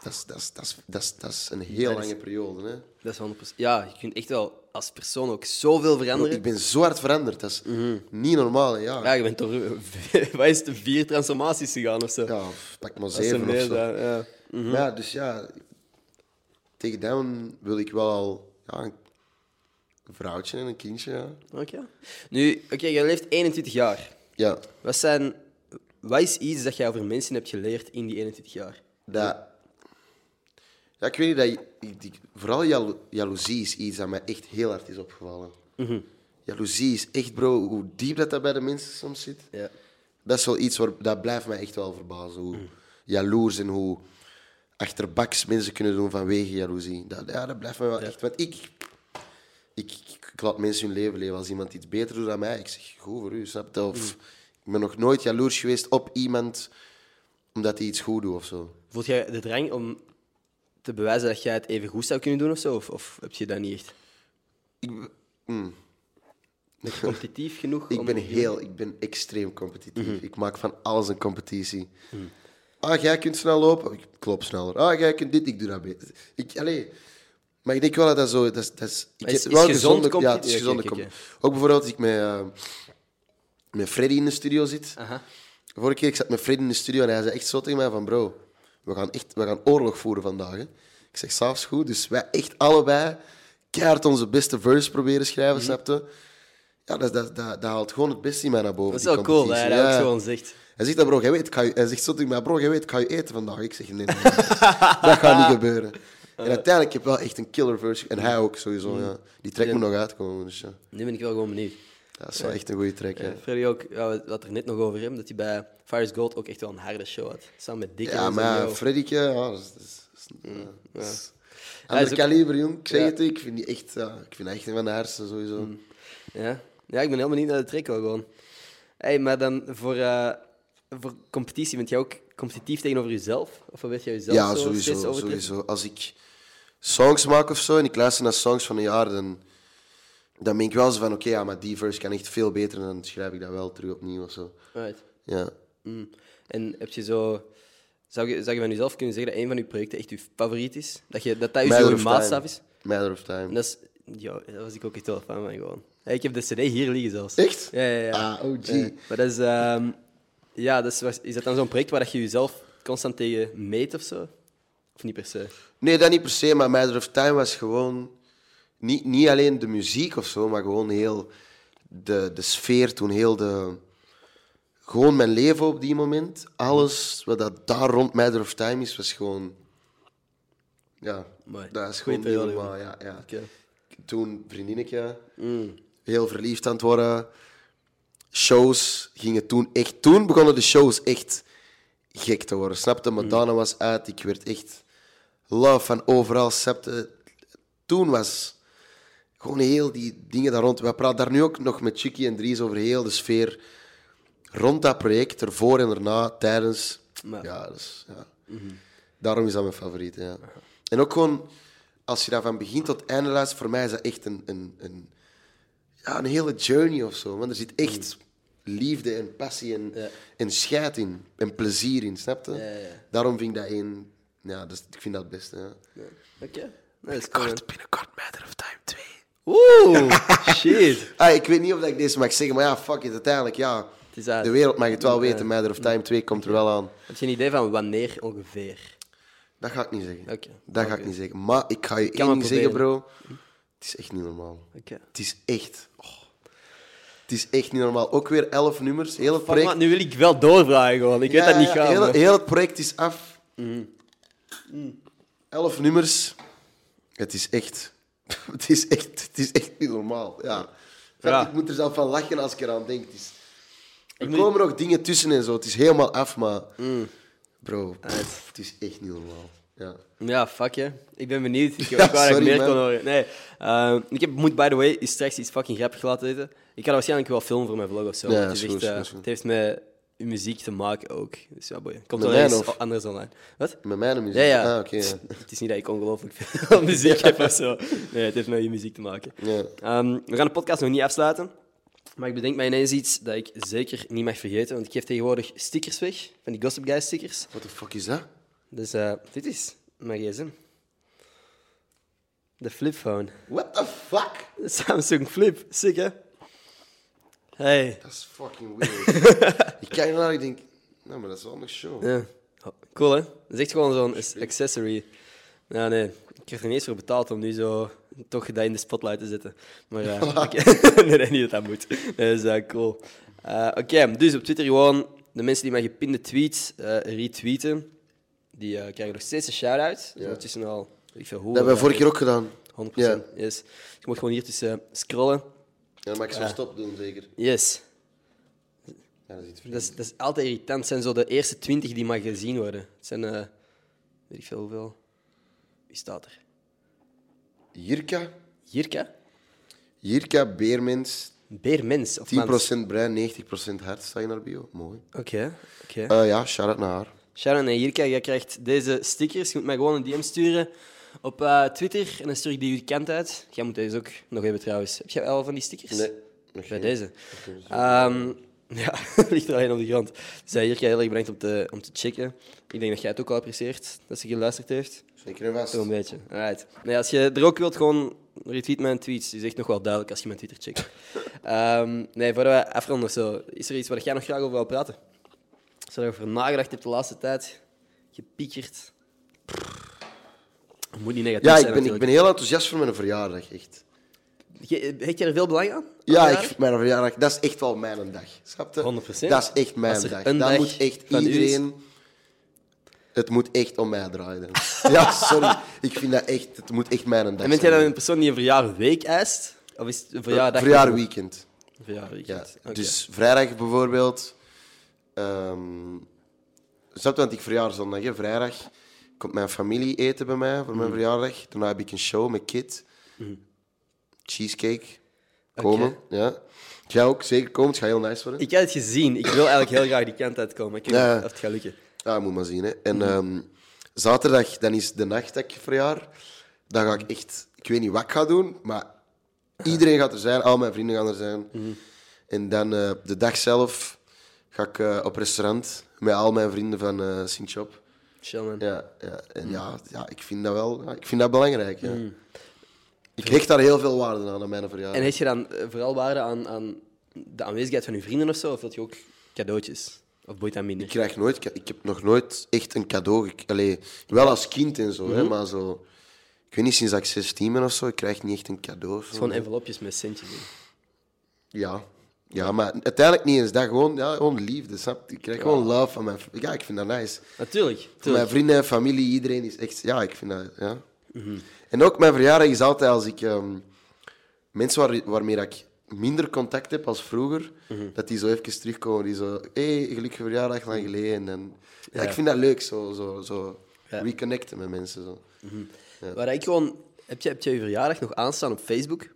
S1: Dat is, dat is, dat is, dat is, dat is een heel lange periode, hè.
S2: Dat is 100%. Ja, je kunt echt wel als persoon ook zoveel veranderen.
S1: Ik ben zo hard veranderd, dat is niet normaal, hè, ja.
S2: Mhm. Ja, je bent toch... Wat is de vier transformaties gegaan of zo?
S1: Ja, of pak maar
S2: Dat is
S1: zeven
S2: een Mhm.
S1: of zo.
S2: meer dan, ja.
S1: Maar ja, dus ja, tegen dan wil ik wel al ja, een een vrouwtje en een kindje, ja.
S2: Oké. Nu, oké, jij leeft 21 jaar.
S1: Ja,
S2: Wat, zijn, wat is iets dat jij over mensen hebt geleerd in die 21 jaar?
S1: Dat... Ja, ik weet niet, dat, ik- ik- vooral jalo- jaloezie is iets dat mij echt heel hard is opgevallen. Jaloezie is echt, bro, hoe diep dat, dat bij de mensen soms zit.
S2: Ja.
S1: Dat is wel iets waar, dat blijft mij echt wel verbazen. Hoe jaloers en hoe achterbaks mensen kunnen doen vanwege jaloezie. Dat, ja, dat blijft mij wel echt. Want ik, ik, ik, ik laat mensen hun leven leven. Als iemand iets beter doet dan mij, ik zeg, goed voor u, snap je? Of ik ben nog nooit jaloers geweest op iemand omdat hij iets goed doet of zo.
S2: Voelt jij de drang om te bewijzen dat jij het even goed zou kunnen doen of zo? Of, of heb je dat niet echt? Ben je competitief genoeg?
S1: hmm. Ik
S2: om- Mhm.
S1: ben heel, ik ben extreem competitief. Ik maak van alles een competitie. Ah, jij kunt snel lopen, ik ik loop sneller. Ah, jij kunt dit, ik doe dat beter. Ik, allee. Maar ik denk wel dat dat zo dat is. Dat is, ik
S2: Maar is-
S1: heb
S2: is
S1: wel
S2: gezond competi-
S1: Ja, het is
S2: Ja,
S1: gezonde
S2: kijk, kijk,
S1: competitie. Ook bijvoorbeeld als ik met, eh, met Freddy in de studio zit.
S2: Aha.
S1: Vorige keer ik zat met Freddy in de studio en hij zei echt zo tegen mij van bro, we gaan, echt, we gaan oorlog voeren vandaag. Hè. Ik zeg, s'avonds goed. Dus wij echt allebei keihard onze beste verse proberen schrijven,
S2: Mhm.
S1: snap je? Ja, dat, dat, dat, dat haalt gewoon het beste in mij naar boven.
S2: Dat is
S1: die
S2: wel cool dat
S1: competitie.
S2: hij dat ook
S1: Ja.
S2: gewoon zegt.
S1: Hij zegt dat bro, jij weet, ik ga je- hij zegt zo tegen mij, bro, jij weet, ik ga je eten vandaag. Ik zeg, nee, nee, nee. dat gaat niet gebeuren. En uiteindelijk heb ik wel echt een killer verse. En hij ook, sowieso.
S2: Mhm.
S1: Ja. Die track moet nog uitkomen. Dus ja.
S2: Nu ben ik wel gewoon benieuwd.
S1: Dat is wel echt een goede track. hè.
S2: Freddy ook, ja, wat- wat er net nog over hem, dat hij bij Fires Gold ook echt wel een harde show had. Samen met Dick en Mm,
S1: Ja,
S2: zo,
S1: maar
S2: yo.
S1: Freddyke, ja, dat is... dat is- dat is- dat is-
S2: Hij is
S1: Ander
S2: ook-
S1: kaliber, jong. Ik zeg
S2: Ja. Mm.
S1: het, ik vind die echt... ja, ik vind die echt een van de hardste, sowieso.
S2: Ja. ja, ik ben helemaal niet naar de trek wel gewoon. Hey, maar dan voor, eh, voor competitie, bent jij ook competitief tegenover jezelf? Of probeert jij jezelf
S1: Ja,
S2: zo steeds
S1: sowieso,
S2: over te-
S1: sowieso. Als ik songs maak of zo, en ik luister naar songs van een jaar, dan, dan ben ik wel zo van... Oké, ja, maar die verse kan echt veel beter. En dan schrijf ik dat wel terug opnieuw of zo.
S2: Right.
S1: Ja.
S2: Mm. En heb je zo... Zou je, zou je van jezelf kunnen zeggen dat een van je projecten echt je favoriet is? Dat je, dat, dat je
S1: Matter
S2: zo'n
S1: of
S2: maatstaf
S1: Time.
S2: is?
S1: Matter of
S2: En
S1: Time.
S2: dat is Ja, daar was ik ook echt wel fan van gewoon. Ja, Ik heb de CD hier liggen zelfs.
S1: Echt?
S2: Ja, ja, ja.
S1: Ah, OG.
S2: Ja. Maar dat is, ehm, ja, dat is, was- is dat dan zo'n project waar dat je jezelf constant tegen meet of zo? Of niet per se?
S1: Nee, dat niet per se, maar Matter of Time was gewoon niet, niet alleen de muziek of zo, maar gewoon heel de, de sfeer toen, heel de. Gewoon mijn leven op die moment. Alles wat dat daar rond Matter of Time is, was gewoon. Ja,
S2: Mooi.
S1: dat is
S2: Goeie
S1: gewoon niet
S2: periode,
S1: normaal. Ja, ja.
S2: Oké.
S1: Toen vriendinnetje, heel verliefd aan het worden. Shows gingen toen echt. Toen begonnen de shows echt gek te worden. Snapte, Madonna was uit. Ik werd echt love van overal. Snapte, toen was gewoon heel die dingen daar rond. We praten daar nu ook nog met Chicky en Dries over heel de sfeer rond dat project, ervoor en erna, tijdens.
S2: Maar-
S1: Ja, dus, ja. Daarom is dat mijn favoriet. Ja. En ook gewoon, als je daar van begin tot einde luistert, voor mij is dat echt een, een, een, ja, een hele journey of zo. Want er zit echt
S2: Mm.
S1: liefde en passie en, en scheid in. En plezier in, snap je?
S2: ja, ja.
S1: Daarom vind ik dat één... Ja, dus, ik vind dat het beste. Ja.
S2: Oké. Dat is cool. man.
S1: binnenkort Matter of Time 2.
S2: Oeh, shit.
S1: Ah, ik weet niet of dat ik deze mag zeggen, maar ja, fuck it, uiteindelijk, ja.
S2: Het is uit.
S1: De wereld mag het wel weten, Matter of Time 2 komt er wel aan.
S2: Heb je een idee van wanneer ongeveer?
S1: Dat ga ik niet zeggen.
S2: Oké.
S1: Dat ga ik niet zeggen. Maar ik ga je
S2: kan
S1: één
S2: maar
S1: ding zeggen, bro. Het is echt niet normaal.
S2: Oké.
S1: Het is echt... oh. Het is echt niet normaal. Ook weer elf nummers, heel het
S2: Fuck,
S1: project...
S2: man, nu wil ik wel doorvragen gewoon. Ik weet dat
S1: Ja,
S2: niet gaan. Mhm.
S1: Heel,
S2: maar-
S1: heel het project is af. Elf nummers. Het is echt... Het is echt, het is echt niet normaal, ja.
S2: Ja.
S1: Ik moet er zelf van lachen als ik eraan denk. Het is... Er
S2: moet- Mm.
S1: komen nog dingen tussen en zo. Het is helemaal af, maar... Bro, pff, het is echt niet normaal. Ja.
S2: Ja, fuck je. Ik ben benieuwd. Ik,
S1: Ja,
S2: ik wou dat ik
S1: sorry,
S2: meer
S1: man.
S2: kon horen. Nee, ehm, ik heb, moet, by the way, straks iets fucking grappigs laten weten. Ik ga dat waarschijnlijk wel filmen voor mijn vlog of zo.
S1: Ja,
S2: want het,
S1: is
S2: is
S1: goed,
S2: echt, eh,
S1: is goed, is goed.
S2: het heeft met uw muziek te maken ook. Dus ja, boy. Komt
S1: Met
S2: wel
S1: mij
S2: eens
S1: of-
S2: anders online. Wat?
S1: Met mijn muziek.
S2: Ja, ja.
S1: Ah, oké, ja.
S2: Het is niet dat ik ongelooflijk veel muziek heb of zo. Nee, het heeft met je muziek te maken.
S1: Ja.
S2: Ehm, we gaan de podcast nog niet afsluiten. Maar ik bedenk mij ineens iets dat ik zeker niet mag vergeten. Want ik geef tegenwoordig stickers weg. Van die Gossip Guy stickers.
S1: What the fuck is dat?
S2: Dus eh, dit is mijn gsm. De flipphone.
S1: What the fuck?
S2: De Samsung Flip. Sick, hè? Hey.
S1: Dat is fucking weird. ik kijk ernaar en ik denk... Nou, maar dat is wel een show.
S2: Ja. Cool, hè? Dat is echt gewoon zo'n accessory. Ja, nee. Ik heb er niet eens voor betaald om nu zo toch dat in de spotlight te zetten. Maar ja, nee, nee, niet dat dat moet. Nee, dat is eh, cool. Eh, Oké, dus op Twitter gewoon de mensen die mijn gepinde tweets eh, retweeten, die eh, krijgen nog steeds een shout-out. Ja. Ondertussen al, weet ik veel hoe.
S1: Dat hebben we
S2: eh,
S1: vorige keer ook gedaan.
S2: 100%.
S1: Ja.
S2: Yes. Dus Je moet gewoon hier tussen scrollen.
S1: Ja, dan mag ik
S2: Ah.
S1: zo stop doen, zeker.
S2: Yes.
S1: Ja, dat is iets
S2: Dat is, dat is altijd irritant. Het zijn zo de eerste 20 die maar gezien worden. Het zijn, eh, weet ik veel hoeveel. Wie staat er?
S1: Jirka,
S2: Jirka?
S1: Jirka, Beermens,
S2: Beermens of Mans?
S1: 10% brein, 90% hart, sta je naar bio. Mooi.
S2: Oké, oké.
S1: Eh, ja, shout-out naar haar.
S2: Sharon en Jirka, jij krijgt deze stickers. Je moet mij gewoon een DM sturen op eh, Twitter en dan stuur ik die jullie kant uit. Jij moet deze ook nog hebben trouwens. Heb jij al van die stickers?
S1: Nee, nog geen.
S2: Bij deze. Ehm, ja, ligt er alleen op de grond. Dus eh, Jirka, heel erg bedankt om te, om te checken. Ik denk dat jij het ook al apprecieert, dat ze geluisterd heeft.
S1: Zeker en vast.
S2: Zo'n beetje. Alright. Nee, als je er ook wilt, gewoon retweet mijn tweets. Het is echt nog wel duidelijk als je mijn Twitter checkt. Ehm, nee, voordat we afronden of zo, is er iets waar jij nog graag over wil praten? Als je erover nagedacht hebt de laatste tijd, gepiekerd. Het Moet niet negatief
S1: Ja,
S2: zijn
S1: ik ben, ik ben
S2: natuurlijk.
S1: heel enthousiast voor mijn verjaardag, echt.
S2: Ge- Hecht jij er veel belang aan?
S1: Ja,
S2: Aan
S1: ik,
S2: jaren?
S1: vind mijn verjaardag, dat is echt wel mijn dag. Snap je?
S2: 100%.
S1: Dat is echt mijn
S2: Als er
S1: dag.
S2: een
S1: Dat
S2: dag
S1: moet echt
S2: van u is-
S1: iedereen... Het moet echt om mij draaien. dan. Ja, sorry. Ik vind dat echt... Het moet echt mijn dag
S2: En bent jij dan
S1: zijn.
S2: een persoon die een verjaarweek eist? Of is het een verjaardag?
S1: Verjaarweekend.
S2: Een verjaarweekend.
S1: Ja,
S2: Oké.
S1: dus vrijdag bijvoorbeeld. ehm snap je, want ik verjaar zondag, hè? vrijdag komt mijn familie eten bij mij voor mijn
S2: Mhm.
S1: verjaardag. Daarna heb ik een show met Kit. Cheesecake. Komen, ja. Jij ook, zeker komen. Het gaat heel nice worden.
S2: Ik heb het gezien. Ik wil eigenlijk heel graag die kant uitkomen. Ik weet niet
S1: Ja.
S2: of het gaat lukken.
S1: Ja, Ah, moet maar zien. Hè. En ehm, zaterdag, dan is de nacht dat ik verjaar. Dan ga ik echt... Ik weet niet wat ik ga doen, maar iedereen gaat er zijn. Al mijn vrienden gaan er zijn. En dan eh, de dag zelf ga ik eh, op restaurant met al mijn vrienden van eh sint Job.
S2: Chill, man.
S1: Ja, ja. En ja, ja, ik vind dat wel... ja, ik vind dat belangrijk, ja. Ik hecht daar heel veel waarde aan, aan mijn verjaardag.
S2: En hecht je dan eh, vooral waarde aan, aan de aanwezigheid van je vrienden of zo? Of wil je ook cadeautjes? Of boeit dat minder?
S1: Ik krijg nooit, ka- ik heb nog nooit echt een cadeau. gek- Allee, wel als kind en zo, hè, maar zo. Ik weet niet, sinds dat ik 16 ben of zo, ik krijg niet echt een cadeau. of zo.
S2: Gewoon envelopjes met centjes in.
S1: Ja. Ja, maar uiteindelijk niet eens dat. Gewoon, ja, gewoon liefde, snap je? Ik krijg gewoon love van mijn... v- Ja, ik vind dat nice.
S2: Natuurlijk.
S1: Voor
S2: tuurlijk.
S1: mijn vrienden en familie, iedereen is echt... Ja, ik vind dat... Ja.
S2: Mhm.
S1: En ook mijn verjaardag is altijd als ik... ehm, mensen waar, waarmee dat ik minder contact heb als vroeger,
S2: Mhm.
S1: dat die zo even terugkomen. Die zo... Hé, hey, gelukkige verjaardag, lang
S2: Mhm.
S1: geleden. En, dan- ja, ik vind dat leuk, zo, zo, zo
S2: Ja.
S1: reconnecten met mensen. Zo.
S2: Waar ik gewoon... Heb je, heb je je verjaardag nog aanstaan op Facebook?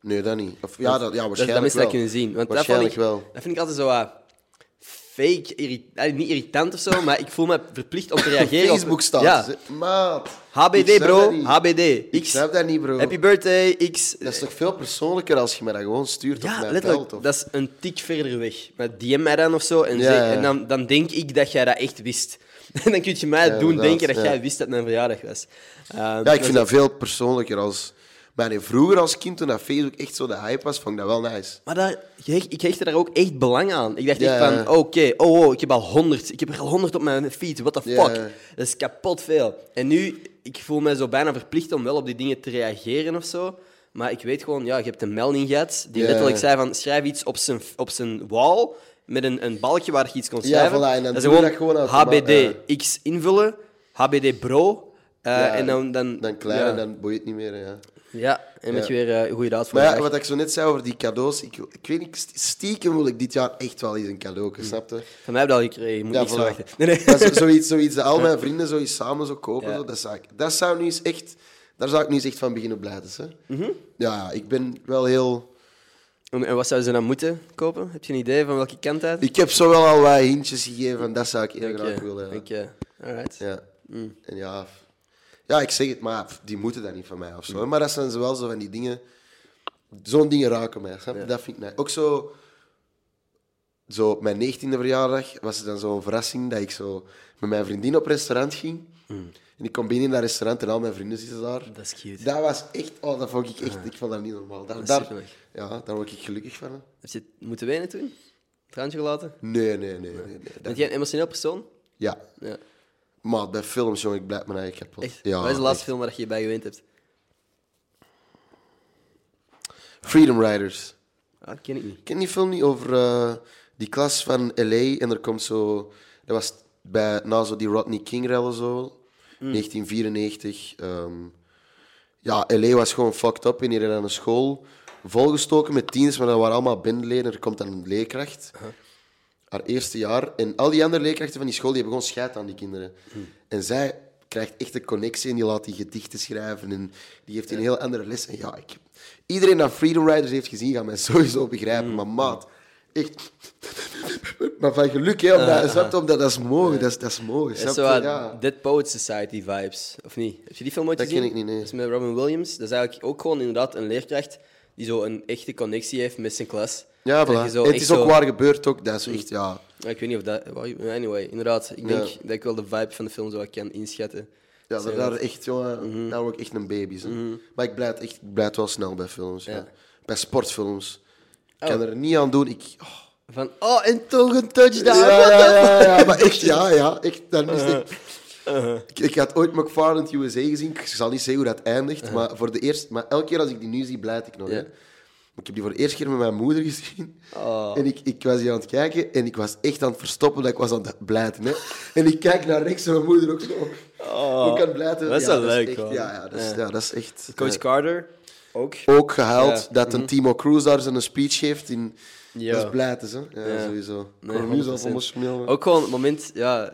S1: Nee, dat niet. Of, ja, Ah, dat, ja,
S2: Dat- dat
S1: waarschijnlijk
S2: mensen dat
S1: wel.
S2: kunnen zien. Want
S1: waarschijnlijk
S2: dat, vond ik,
S1: wel.
S2: dat vind ik altijd zo wat fake, irri- eh, niet irritant of zo, maar ik voel me verplicht om te reageren. op-
S1: Facebook staat.
S2: Ja.
S1: Maat. ik snap
S2: HBD
S1: dat
S2: bro,
S1: niet.
S2: HBD.
S1: Ik
S2: X.
S1: snap dat niet, bro.
S2: Happy birthday, X.
S1: Dat is toch veel persoonlijker als je mij dat gewoon stuurt of
S2: Ja,
S1: mij
S2: letterlijk.
S1: belt? Of...
S2: Dat is een tik verder weg. Maar DM mij dan of zo. En,
S1: Ja,
S2: zeg-
S1: ja.
S2: en dan, dan denk ik dat jij dat echt wist. En dan kun je mij doen
S1: inderdaad,
S2: denken dat
S1: ja.
S2: jij wist dat mijn verjaardag was. Eh,
S1: Ja, ik vind dat veel persoonlijker als... Maar nee, vroeger als kind, toen dat Facebook echt zo de hype was, vond ik dat wel nice.
S2: Maar daar, je hecht- ik hechtte daar ook echt belang aan. Ik dacht
S1: Ja,
S2: echt van,
S1: ja.
S2: oké, oh, oh, ik heb al 100. Ik heb er al 100 op mijn feed. What the fuck?
S1: Ja, ja.
S2: Dat is kapot veel. En nu, ik voel me zo bijna verplicht om wel op die dingen te reageren of zo. Maar ik weet gewoon, ja, je hebt een melding gehad die
S1: Ja.
S2: letterlijk zei van, schrijf iets op zijn, op zijn wall met een, een balkje waar je iets kon schrijven.
S1: voilà, en dan
S2: dat is
S1: doe je
S2: gewoon,
S1: dat gewoon automatisch.
S2: HBD X invullen, HBD bro. eh,
S1: Ja,
S2: en dan... Dan,
S1: Dan klein
S2: ja.
S1: en dan boeit het niet meer. Ja.
S2: Ja, en met je weer eh, een goede daad voor
S1: Maar
S2: de
S1: ja,
S2: dag.
S1: wat ik zo net zei over die cadeaus, ik, ik weet niet, stiekem wil ik dit jaar echt wel eens een
S2: Mm.
S1: cadeau, snap je?
S2: Van mij heb je dat al gekregen, je moet
S1: Ja,
S2: niks
S1: voilà.
S2: verwachten. Nee, nee.
S1: Maar zo- zoiets, zoiets dat al mijn vrienden zoiets samen zo kopen,
S2: Ja.
S1: zo, dat, zou ik, dat zou nu eens echt... Daar zou ik nu eens echt van beginnen blijven. hè.
S2: Mhm.
S1: Ja, ik ben wel heel...
S2: En, en wat zouden ze dan moeten kopen? Heb je een idee van welke kant uit?
S1: Ik heb zo wel al wat hintjes gegeven van dat zou ik heel
S2: Oké,
S1: graag willen. ja.
S2: oké, alright.
S1: Ja.
S2: Mm.
S1: En ja, f- ja, ik zeg het, maar f- die moeten dat niet van mij of
S2: Mm.
S1: zo. Maar dat zijn ze wel zo van die dingen. Zo'n dingen raken mij. snap je? Dat vind ik nice. Ook zo, zo op mijn 19e verjaardag was het dan zo'n verrassing dat ik zo met mijn vriendin op restaurant ging. En ik kom binnen in dat restaurant en al mijn vrienden zitten daar.
S2: Mm. Dat is cute.
S1: Dat was echt, oh, dat vond ik echt, ik vond dat niet normaal. Daar,
S2: is
S1: daar-
S2: superleuk.
S1: ja, daar word ik gelukkig van. hè.
S2: Heb je het moeten wenen toen? Traantje gelaten?
S1: Nee, nee, nee. nee, nee. Dat-
S2: Ben jij een emotioneel persoon?
S1: ja,
S2: Ja,
S1: Maar bij films, jongen, ik blijf mijn eigen kapot.
S2: echt.
S1: Ja,
S2: wat is de
S1: echt.
S2: laatste film waar je bij gewend hebt?
S1: Freedom Riders.
S2: Ah, ken ik niet.
S1: Ken je die film niet over eh, die klas van L.A. en er komt zo... Dat was bij, na zo die Rodney King-rellen zo, 1994. ehm, ja, L.A. was gewoon fucked up en hier aan een school volgestoken met tieners, maar dat waren allemaal bendeleden. Er komt dan een leerkracht, haar eerste jaar. En al die andere leerkrachten van die school, die hebben gewoon scheid aan die kinderen. En zij krijgt echt een connectie en die laat die gedichten schrijven en die heeft een heel andere les. En ja, ik, iedereen dat Freedom Riders heeft gezien, gaat mij sowieso begrijpen. Maar
S2: Mm.
S1: maat, echt... Maar van geluk, hè, omdat, snap je, omdat dat is mooi, dat is, dat is mooi.
S2: Dat is
S1: Snap je?
S2: zo wat
S1: Ja.
S2: Dead Poets Society vibes, of niet? Heb je die film ooit
S1: Dat
S2: gezien?
S1: ken ik niet, nee.
S2: Dat is met Robin Williams. Dat is eigenlijk ook gewoon inderdaad een leerkracht die zo een echte connectie heeft met zijn klas.
S1: Ja,
S2: Dat
S1: voilà.
S2: je zo
S1: En het
S2: echt
S1: is ook
S2: zo- Mm.
S1: waar gebeurd, ook. Dat is echt, ja...
S2: Ja, Ik weet niet of dat... wauw, Anyway, inderdaad. Ik denk
S1: Ja.
S2: dat ik wel de vibe van de film zo wat kan inschatten.
S1: Ja,
S2: Zo- Mhm.
S1: daar, daar echt, jongen, daar word ik echt een baby. hè. Maar ik blijf, echt, ik blijf wel snel bij films. Ja.
S2: Ja.
S1: Bij sportfilms. Ik
S2: Oh.
S1: kan er niet aan doen. Ik, oh.
S2: Van, oh, en toch een touchdown.
S1: ja, ja, ja, ja, maar echt, ja, ja. Echt, dan is het- ik, ik had ooit McFarland USA gezien. Ik zal niet zeggen hoe dat eindigt. Maar, voor de eerste, maar elke keer als ik die nu zie, blijf ik nog.
S2: Ja.
S1: Hè. Ik heb die voor de eerste keer met mijn moeder gezien.
S2: Oh.
S1: En ik, ik was hier aan het kijken en ik was echt aan het verstoppen dat ik was aan het blijten. Hè. En ik kijk naar rechts en mijn moeder ook zo.
S2: Oh.
S1: Hoe kan blijten?
S2: Dat is
S1: ja,
S2: wel leuk,
S1: echt-
S2: hoor.
S1: Ja, ja, dat is, ja.
S2: Ja.
S1: dat is echt...
S2: Coach
S1: eh,
S2: Carter ook.
S1: ook gehuild
S2: Ja. mhm.
S1: dat een Timo Cruz daar zijn speech geeft. In,
S2: Ja.
S1: Dat is blijten, hè? Ja,
S2: Ja.
S1: sowieso.
S2: Nee,
S1: Voor nu is dat
S2: 100%.
S1: emotioneel. hè.
S2: Ook gewoon het moment, ja.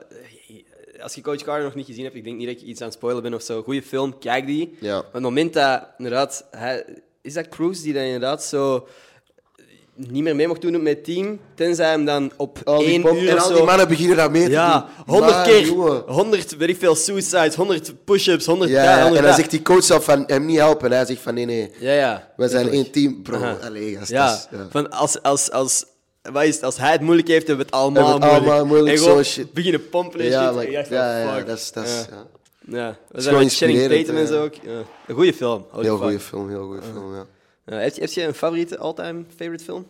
S2: Als je Coach Carter nog niet gezien hebt, ik denk niet dat ik iets aan het spoilen ben of zo. Goeie film, kijk die.
S1: Ja.
S2: Maar het moment dat inderdaad, hij, is dat Cruz die dan inderdaad zo niet meer mee mocht doen met het team, tenzij hem dan op
S1: Al die
S2: één
S1: pop-
S2: uur
S1: en
S2: of
S1: al
S2: zo-
S1: die mannen beginnen daar mee te
S2: Ja,
S1: doen.
S2: 100
S1: Maar,
S2: keer,
S1: jongen.
S2: 100, weet ik veel, suicides, 100 push-ups, 100
S1: Ja,
S2: daar, 100
S1: en dan
S2: daar.
S1: zegt die coach zelf van hem niet helpen. Hij zegt van nee, nee.
S2: Ja, ja.
S1: We zijn
S2: Tuurlijk.
S1: één team, bro.
S2: Aha.
S1: Allee, gast,
S2: Ja,
S1: dat is- ja.
S2: Van als, als, als, wat is het? als hij het moeilijk heeft, hebben we het allemaal
S1: Hebben we het allemaal moeilijk,
S2: En gewoon
S1: zo shit.
S2: beginnen pompen en
S1: Ja,
S2: shit.
S1: maar-
S2: En je dacht van,
S1: ja, ja,
S2: fuck.
S1: dat is... dat is-
S2: Ja.
S1: ja.
S2: Ja, we
S1: is
S2: zijn
S1: gewoon
S2: met Channing
S1: inspirerend,
S2: Tatum en zo ook. Ja. Een goede film. holy
S1: Heel
S2: fuck.
S1: goede film, heel goede film, ja.
S2: Ja, heb, je, heb je een favoriete, all-time favorite film?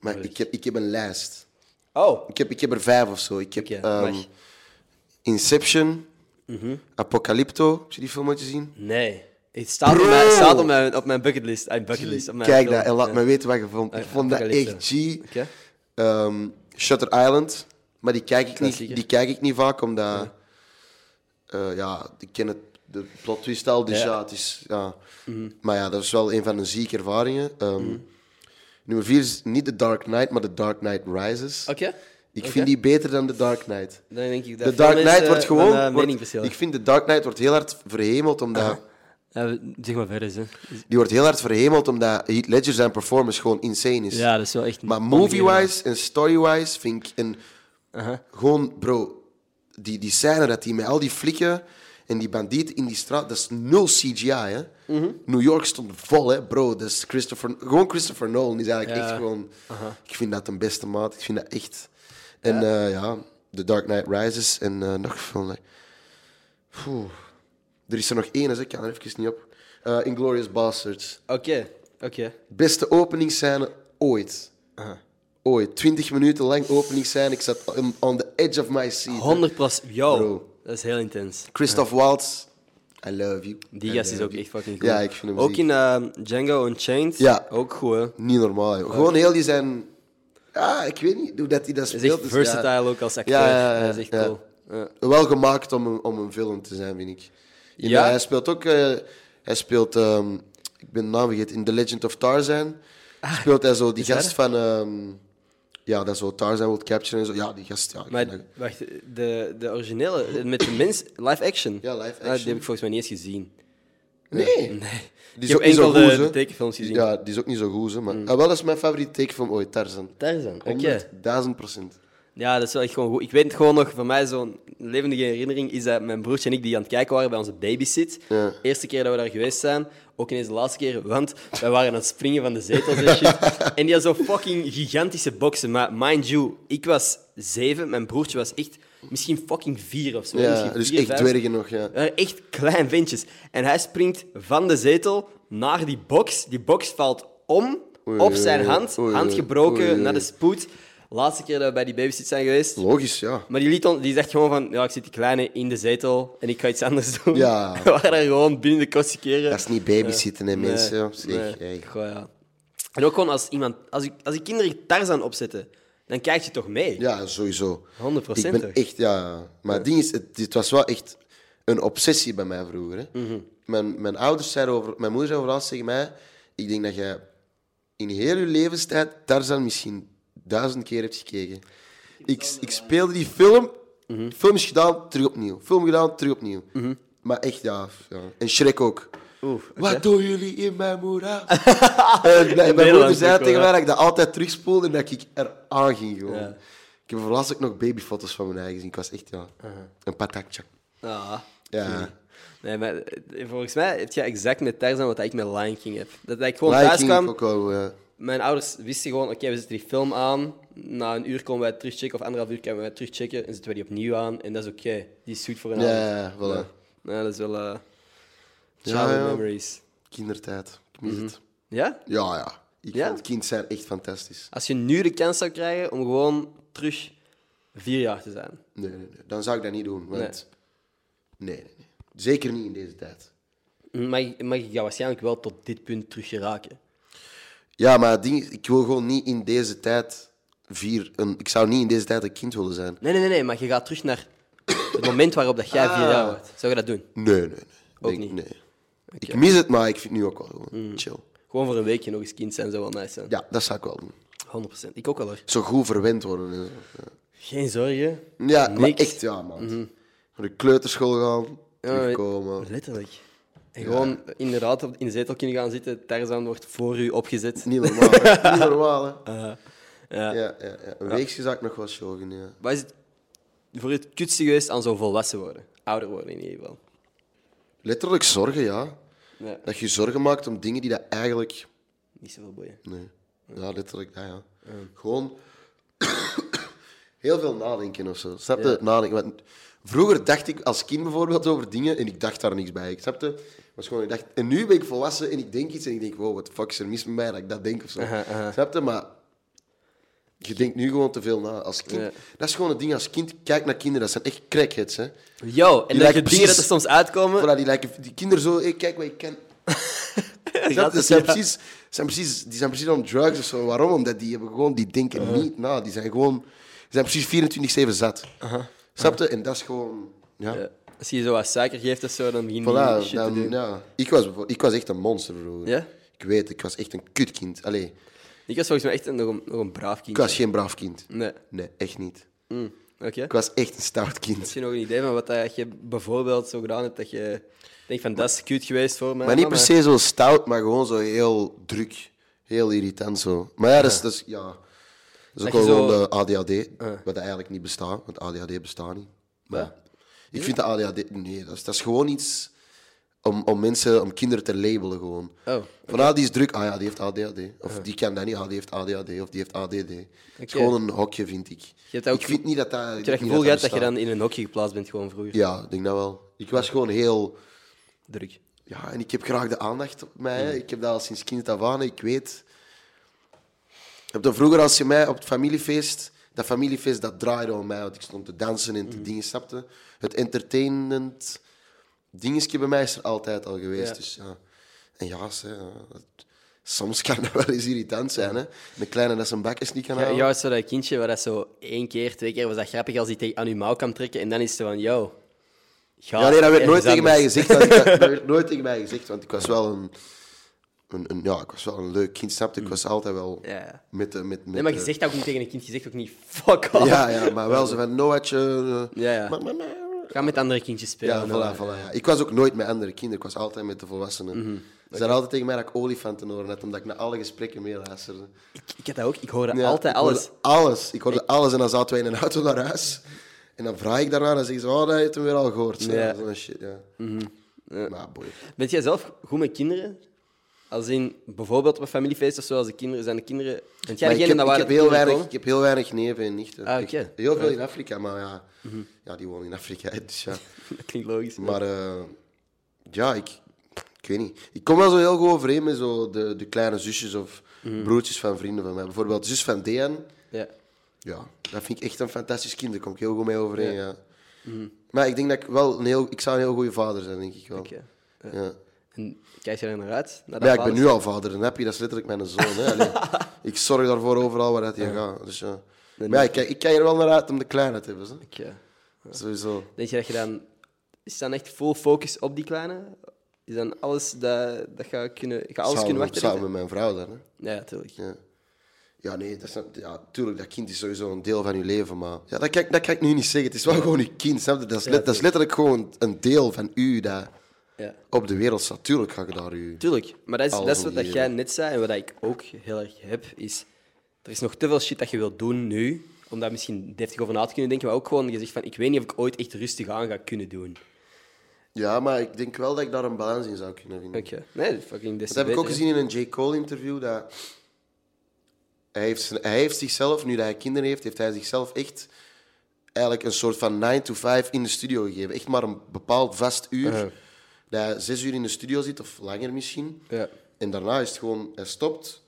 S1: Maar ik heb, ik heb een lijst.
S2: Oh.
S1: Ik heb, ik heb er vijf of zo. Ik heb
S2: Oké,
S1: ehm,
S2: mag.
S1: Inception,
S2: Mhm.
S1: Apocalypto. Heb je die film ooit gezien?
S2: Nee. Het staat, op
S1: Bro!
S2: mijn, het staat op mijn, op mijn bucketlist. Ah, bucketlist. Op mijn
S1: Kijk
S2: film.
S1: dat en laat
S2: Ja.
S1: me weten wat je vond.
S2: Ah,
S1: Ik vond dat
S2: Apocalypto.
S1: echt G.
S2: Oké.
S1: Ehm, Shutter Island, maar die kijk ik, niet,
S2: Klassieker.
S1: die kijk ik niet vaak, omdat... eh, ja, ik ken het, de plot twist al, dus
S2: Ja. Mhm.
S1: ja, het is... Ja. Maar ja, dat is wel een van de zieke ervaringen. Ehm, Nummer vier is niet The Dark Knight, maar The Dark Knight Rises.
S2: Oké.
S1: Ik
S2: Oké.
S1: vind die beter dan The Dark Knight.
S2: Dan denk ik dat
S1: The Dark
S2: film is,
S1: Knight
S2: eh,
S1: wordt
S2: van,
S1: gewoon...
S2: eh,
S1: wordt-
S2: mening verschillen.
S1: ik vind The Dark Knight wordt heel hard verhemeld, omdat...
S2: Ja, we- zeg maar verder, hè.
S1: Die wordt heel hard verhemeld, omdat Heath Ledger zijn performance gewoon insane is.
S2: Ja, dat is wel echt...
S1: Maar movie-wise en story-wise vind ik een... Gewoon, bro, die, die scène dat hij met al die flikken en die bandieten in die straat, dat is nul CGI, hè?
S2: Mhm.
S1: New York stond vol, hè, bro. Dat is Christopher, gewoon Christopher Nolan is eigenlijk
S2: Ja.
S1: echt gewoon... Ik vind dat een beste maat, ik vind dat echt... En ja, ja The Dark Knight Rises en eh, nog veel... hè. Oeh. Er is er nog één, dus ik kan er even niet op. Eh, Inglourious Bastards.
S2: Oké. Oké.
S1: Beste openingsscène ooit. Ooit. 20 minuten lang openingsscène. Ik zat on, on the edge of my seat.
S2: 100 Yo.
S1: Bro.
S2: Dat is heel intens.
S1: Christoph Waltz, I love you.
S2: Die
S1: I
S2: gast is
S1: love
S2: ook
S1: you.
S2: echt fucking cool.
S1: Ja, ik vind hem
S2: Ook
S1: ziek.
S2: in ehm, Django Unchained.
S1: Ja.
S2: Ook goed, hè.
S1: Niet normaal. joh. Gewoon heel die zijn... Ja, ik weet niet hoe dat hij dat
S2: Dat
S1: speelt.
S2: is echt
S1: dus
S2: versatile
S1: ja.
S2: ook als acteur.
S1: Ja, ja, ja,
S2: Dat is echt
S1: ja.
S2: cool. Ja.
S1: Wel gemaakt om een, om een film te zijn, vind ik. In,
S2: Ja?
S1: eh, hij speelt ook... eh, hij speelt... ehm, ik ben de naam vergeten. In The Legend of Tarzan
S2: Ah,
S1: speelt hij zo die
S2: hij
S1: gast van... ehm, ja, dat zo Tarzan wil capturen en zo. Ja, die gast. Ja, ik
S2: Maar
S1: vind dat-
S2: wacht, de, de originele, met de mens, live action.
S1: Ja, live
S2: Ah,
S1: action.
S2: die heb ik volgens mij niet eens gezien.
S1: Nee.
S2: Nee.
S1: Die
S2: ik
S1: niet
S2: heb enkel de,
S1: hè.
S2: de tekenfilms gezien.
S1: Ja, die is ook niet zo goed, hè, maar... Ah, wel, dat is mijn favoriete tekenfilm ooit, Tarzan.
S2: Tarzan, oké.
S1: 1000 procent.
S2: Ja, dat is wel echt gewoon goed. Ik weet het gewoon nog, voor mij zo'n levendige herinnering is dat mijn broertje en ik die aan het kijken waren bij onze babysit.
S1: Ja.
S2: Eerste keer dat we daar geweest zijn, ook ineens de laatste keer, want wij waren aan het springen van de zetels en shit. En die had zo'n fucking gigantische boxen. Maar mind you, ik was zeven, mijn broertje was echt misschien fucking vier of zo.
S1: Ja,
S2: misschien
S1: dus
S2: vier,
S1: echt
S2: vijf.
S1: dwergen nog, ja.
S2: Ja, Eh, Echt klein ventjes. En hij springt van de zetel naar die box. Die box valt om,
S1: Oei,
S2: op zijn
S1: oei,
S2: hand,
S1: oei,
S2: hand gebroken,
S1: oei, oei.
S2: naar de spoed. Laatste keer dat we bij die babysit zijn geweest.
S1: Logisch, ja.
S2: Maar die, liet ons, die zegt gewoon van, ja, ik zit die kleine in de zetel en ik ga iets anders doen.
S1: Ja.
S2: We waren daar gewoon binnen de kortste keren.
S1: Dat is niet babysitten, hè,
S2: Nee,
S1: mensen. ja. Zeg,
S2: nee.
S1: hey.
S2: Goh, ja. En ook gewoon als iemand... Als ik, als ik kinderen Tarzan opzetten, dan kijk je toch mee?
S1: Ja, sowieso.
S2: 100%
S1: Ik ben
S2: toch?
S1: echt, ja, ja. Maar het ding is, het, het was wel echt een obsessie bij mij vroeger. Hè.
S2: Mhm.
S1: Mijn, mijn ouders zeiden over, mijn moeder zei overal tegen mij, ik denk dat jij in heel je levenstijd Tarzan misschien duizend keer hebt gekeken. Ik, ik speelde die film, film is gedaan, terug opnieuw. Film gedaan, terug opnieuw. Maar echt, ja, ja. En Shrek ook.
S2: Oeh,
S1: Wat doen jullie in mijn moeder? en, mijn moeder
S2: Nederlands ook
S1: zei
S2: wel,
S1: tegen
S2: hè?
S1: mij dat ik dat altijd terugspoelde en dat ik er aan ging gewoon.
S2: Ja.
S1: Ik heb voorlaatst ook nog babyfoto's van mijn eigen gezien. Ik was echt, ja, een patakje.
S2: Ah.
S1: Ja.
S2: Nee, maar eh, volgens mij heb jij exact met Tarzan wat ik met Lion King heb. Dat ik gewoon
S1: Lion
S2: thuis
S1: King
S2: kwam,
S1: ook wel, eh,
S2: mijn ouders wisten gewoon, oké, we zetten die film aan. Na een uur komen wij het terugchecken, of anderhalf uur komen wij het terugchecken. En zetten we die opnieuw aan, en dat is oké. Die is goed voor een
S1: Ja,
S2: avond.
S1: ja, ja, voilà.
S2: Ja. Ja, dat is wel... eh
S1: Ja,
S2: childhood
S1: ja.
S2: memories.
S1: kindertijd. Ik mis het.
S2: Ja?
S1: Ja, ja. Ik
S2: Mhm. Ja?
S1: vond kind zijn echt fantastisch.
S2: Als je nu de kans zou krijgen om gewoon terug vier jaar te zijn.
S1: Nee, nee, nee. Dan zou ik dat niet doen, want... Nee, nee, nee. Zeker niet in deze tijd.
S2: Maar, je- maar je gaat waarschijnlijk wel tot dit punt terug geraken.
S1: Ja, maar het ding is, ik wil gewoon niet in deze tijd vier... Een, ik zou niet in deze tijd een kind willen zijn.
S2: Nee, nee, nee, nee, maar je gaat terug naar het moment waarop dat jij vier
S1: Ah.
S2: jaar wordt. Zou je dat doen?
S1: Nee, nee, nee.
S2: Ook
S1: Ik-
S2: niet? Mm.
S1: Nee. Ik mis het, maar ik vind het nu ook wel gewoon chill.
S2: Gewoon voor een weekje nog eens kind zijn zou wel nice zijn.
S1: Ja, dat zou ik wel doen.
S2: 100%. Ik ook wel hoor.
S1: Zo goed verwend worden. en zo.
S2: Geen zorgen.
S1: Ja, ja maar
S2: Niks. Mhm. Oh,
S1: echt, ja, man. Naar de kleuterschool gaan,
S2: Ja, maar-
S1: terugkomen.
S2: Letterlijk. En gewoon inderdaad op- in de zetel kunnen gaan zitten. Tarzan wordt voor u opgezet.
S1: Niet normaal, hè. Niet normaal, hè.
S2: ja.
S1: Ja, ja, ja. Een weegsje zou ik nog wel shogen, ja.
S2: Wat is het voor het kutste geweest aan zo'n volwassen worden? Ouder worden in ieder geval.
S1: Letterlijk zorgen, ja.
S2: Ja,
S1: Dat je je zorgen maakt om dingen die dat eigenlijk...
S2: niet zoveel boeien.
S1: Nee. Ja, letterlijk, ja, ja. Gewoon heel veel nadenken of zo. Snap je? Nadenken. Want Vroeger dacht ik als kind bijvoorbeeld over dingen en ik dacht daar niks bij. Ik snapte, was gewoon, ik dacht, en nu ben ik volwassen en ik denk iets en ik denk, wow, wat fuck is er mis met mij dat ik dat denk of zo.
S2: Aha, aha.
S1: Snapte, maar je denkt nu gewoon te veel na als kind.
S2: Ja.
S1: Dat is gewoon het ding als kind. Kijk naar kinderen, dat zijn echt crackheads. Hè.
S2: Yo,
S1: Die
S2: en dat
S1: lijken
S2: je dingen dat er
S1: precies-
S2: soms uitkomen.
S1: Voilà, die, lijken, die kinderen zo, hey, kijk wat ik ken.
S2: gaat
S1: Dat,
S2: het,
S1: zijn
S2: ja.
S1: precies, zijn precies, die zijn precies on drugs of zo. Waarom? Omdat die, hebben gewoon, die denken
S2: Uh-huh.
S1: niet na. Die zijn gewoon die zijn precies 24-7 zat. Snap je? En dat is gewoon... Ja.
S2: Uh-huh. Ja. Als je je zo wat suiker geeft of zo, dan begin je die
S1: Voilà,
S2: shit te
S1: dan,
S2: doen.
S1: ja. ik, was, bijvoorbeeld- ik was echt een monster vroeger.
S2: Ja?
S1: Ik weet, ik was echt een kutkind. Allee,
S2: Ik was volgens mij echt een, nog, een, nog een braaf kind.
S1: ik was geen braaf kind.
S2: Nee.
S1: Nee, echt niet.
S2: Mm, Oké.
S1: Ik was echt een stout kind.
S2: Heb je nog een idee van wat dat je bijvoorbeeld zo gedaan hebt dat je denkt van dat is cute geweest voor mij?
S1: Maar niet per se zo stout, maar gewoon zo heel druk. Heel irritant zo. Maar ja, dat is, dat is, ja, dat is ook
S2: je
S1: wel gewoon
S2: zo-
S1: de ADHD, wat dat eigenlijk niet bestaat. Want ADHD bestaat niet. Maar
S2: Ja.
S1: ik vind de ADHD... Nee, dat is, dat is gewoon iets om, om mensen, om kinderen te labelen gewoon.
S2: Oh.
S1: Van, ah, die is druk. Ah ja, die heeft ADHD. Of die kan dat niet. Ah, die heeft ADHD. Of die heeft ADD. Het is
S2: Oké.
S1: gewoon een hokje, vind ik.
S2: hebt dat ook-
S1: ik vind niet dat dat... ik
S2: Heb je
S1: denk
S2: dat
S1: niet
S2: gevoel gehad dat
S1: bestaat.
S2: je dan in een hokje geplaatst bent gewoon vroeger?
S1: Ja, ik denk dat wel. Ik was gewoon heel...
S2: Druk.
S1: Ja, en ik heb graag de aandacht op mij.
S2: Mm.
S1: hè. Ik heb dat al sinds kind af aan. Ik weet... Ik heb dat vroeger, als je mij op het familiefeest... Dat familiefeest, dat draaide om mij. Want ik stond te dansen en te
S2: Mm.
S1: dingen, snapte. Het entertainment dingetje bij mij is er altijd al geweest.
S2: Ja.
S1: Dus ja. En ja, ze, ja, dat- soms kan dat wel eens irritant zijn. Hè? Een kleine dat zijn bakjes niet kan
S2: Ja,
S1: halen.
S2: jou is zo dat kindje waar dat zo één keer, twee keer was dat grappig als hij tegen aan je mouw kan trekken en dan is het zo van, yo, ga
S1: Ja, nee, dat werd
S2: ergens
S1: nooit tegen
S2: anders.
S1: mij gezegd. want ik- dat werd nooit tegen mij gezegd, want ik was wel een, een, een- ja, ik was wel een leuk kind, snapte? Ik was altijd wel
S2: Ja, Mm. ja.
S1: met de... Met, met
S2: Nee, maar je
S1: de-
S2: zegt dat ook niet tegen een kind, je zegt ook niet, fuck off.
S1: Ja, ja, maar wel zo van, noatje... eh,
S2: Ja, ja.
S1: maar- maar- maar-
S2: Ga met andere kindjes
S1: Ja,
S2: spelen.
S1: voilà, voilà. Ja. Ik was ook nooit met andere kinderen, ik was altijd met de volwassenen.
S2: Mhm.
S1: Ze zeiden altijd tegen mij dat ik olifanten horen had, omdat ik naar alle gesprekken meeluisterde.
S2: Ik, ik had dat ook, ik hoorde
S1: Ja,
S2: altijd
S1: ik hoorde
S2: alles.
S1: Alles. Ik hoorde alles en dan zaten wij in een auto naar huis. En dan vraag ik daarna en dan zeggen ze, oh, dat heeft hem weer al gehoord. Zo,
S2: Ja. Mhm.
S1: Zo'n shit, ja. Maar boy.
S2: Bent jij zelf goed met kinderen? Als in bijvoorbeeld op een familiefeest of zo, als de kinderen, zijn de kinderen... Bent jij
S1: Maar ik,
S2: degene
S1: heb,
S2: dat
S1: ik,
S2: waar
S1: heb
S2: de
S1: heel
S2: kinderen
S1: weinig,
S2: komen?
S1: ik heb heel weinig neven en nichten.
S2: Ah,
S1: Echt
S2: oké. Mhm.
S1: Heel veel in Afrika, maar ja, ja die wonen in Afrika. hè, Dus ja.
S2: Dat klinkt logisch.
S1: Maar eh, ja, ik, ik weet niet. Ik kom wel zo heel goed overeen met zo de, de kleine zusjes of
S2: Mhm.
S1: broertjes van vrienden van mij. Bijvoorbeeld zus van Dean.
S2: Ja.
S1: Ja, dat vind ik echt een fantastisch kind. Daar kom ik heel goed mee overeen, ja.
S2: Mhm.
S1: Maar ik denk dat ik wel een heel... Ik zou een heel goede vader zijn, denk ik wel.
S2: Oké.
S1: Ja.
S2: En kijk je er naar uit? Naar
S1: Maar ja, ik ben nu al vader. Een happy, dat is letterlijk mijn zoon. Hè. Allee, ik zorg daarvoor overal waar dat hij gaat. Dus, ja. Maar ja, ik, kijk- ik kijk er wel naar uit om de kleine te hebben. Zo. Sowieso.
S2: Denk je dat je dan... Is dan echt full focus op die kleine? Is dan alles dat, dat ga kunnen... Ga alles kunnen
S1: samen, samen
S2: wachten?
S1: met mijn vrouw dan. Hè.
S2: Ja, ja, tuurlijk.
S1: Ja. Ja, nee, dat is, nat- ja, tuurlijk, dat kind is sowieso een deel van je leven, maar... Ja, dat kan, ik- dat kan ik nu niet zeggen. Het is wel gewoon je kind, snap je? Dat is, let- dat is letterlijk gewoon een deel van u dat
S2: Ja.
S1: op de wereld staat. Tuurlijk ga je daar u...
S2: Tuurlijk, maar dat is,
S1: Alles
S2: dat is
S1: om
S2: wat
S1: die
S2: dat jij net zei en wat dat ik ook heel erg heb, is er is nog te veel shit dat je wilt doen nu, om daar misschien deftig over na te kunnen denken, maar ook gewoon gezegd van ik weet niet of ik ooit echt rustig aan ga kunnen doen.
S1: Ja, maar ik denk wel dat ik daar een balans in zou kunnen vinden.
S2: Oké. Nee, fucking des
S1: Dat heb ik
S2: te
S1: ook
S2: beter,
S1: gezien in een J. Cole-interview, dat... Hij heeft, zijn- hij heeft zichzelf, nu dat hij kinderen heeft, heeft hij zichzelf echt eigenlijk een soort van 9 to 5 in de studio gegeven. Echt maar een bepaald vast uur.
S2: Ja.
S1: Dat hij zes uur in de studio zit, of langer misschien.
S2: hè. Ja.
S1: En daarna is het gewoon, hij stopt,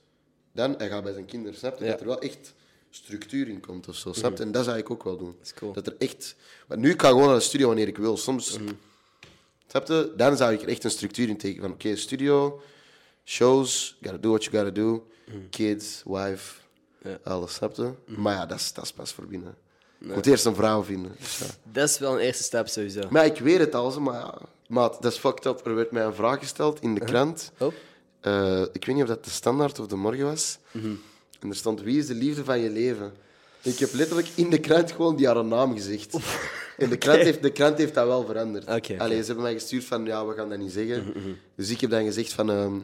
S1: dan hij gaat bij zijn kinderen, snap je?
S2: Ja. Mhm.
S1: Dat er wel echt structuur in komt of zo, snap je? En dat zou ik ook wel doen. Dat
S2: is cool. Mhm.
S1: er echt... Maar nu kan ik gewoon naar de studio wanneer ik wil. Soms, snap je? Dan zou ik er echt een structuur in tekenen. Van oké, studio, shows, gotta do what you gotta do, kids, wife,
S2: Mhm. Ja. Mhm.
S1: alles, snap je? Maar ja, dat is, dat is pas voor binnen. Je moet eerst een vrouw vinden. dus ja.
S2: Dat is wel een eerste stap sowieso.
S1: Maar ik weet het al, zo, maar ja. Maat, dat is fucked up. Er werd mij een vraag gesteld in de krant.
S2: Oh.
S1: Eh, ik weet niet of dat de standaard of de morgen was.
S2: Mhm.
S1: En er stond: Wie is de liefde van je leven? Ik heb letterlijk in de krant gewoon die haar naam gezegd. En de krant, heeft, de krant heeft dat wel veranderd.
S2: Oké, Mhm, oké.
S1: Allee, ze hebben mij gestuurd van, ja, we gaan dat niet zeggen. Dus ik heb dan gezegd van, ehm,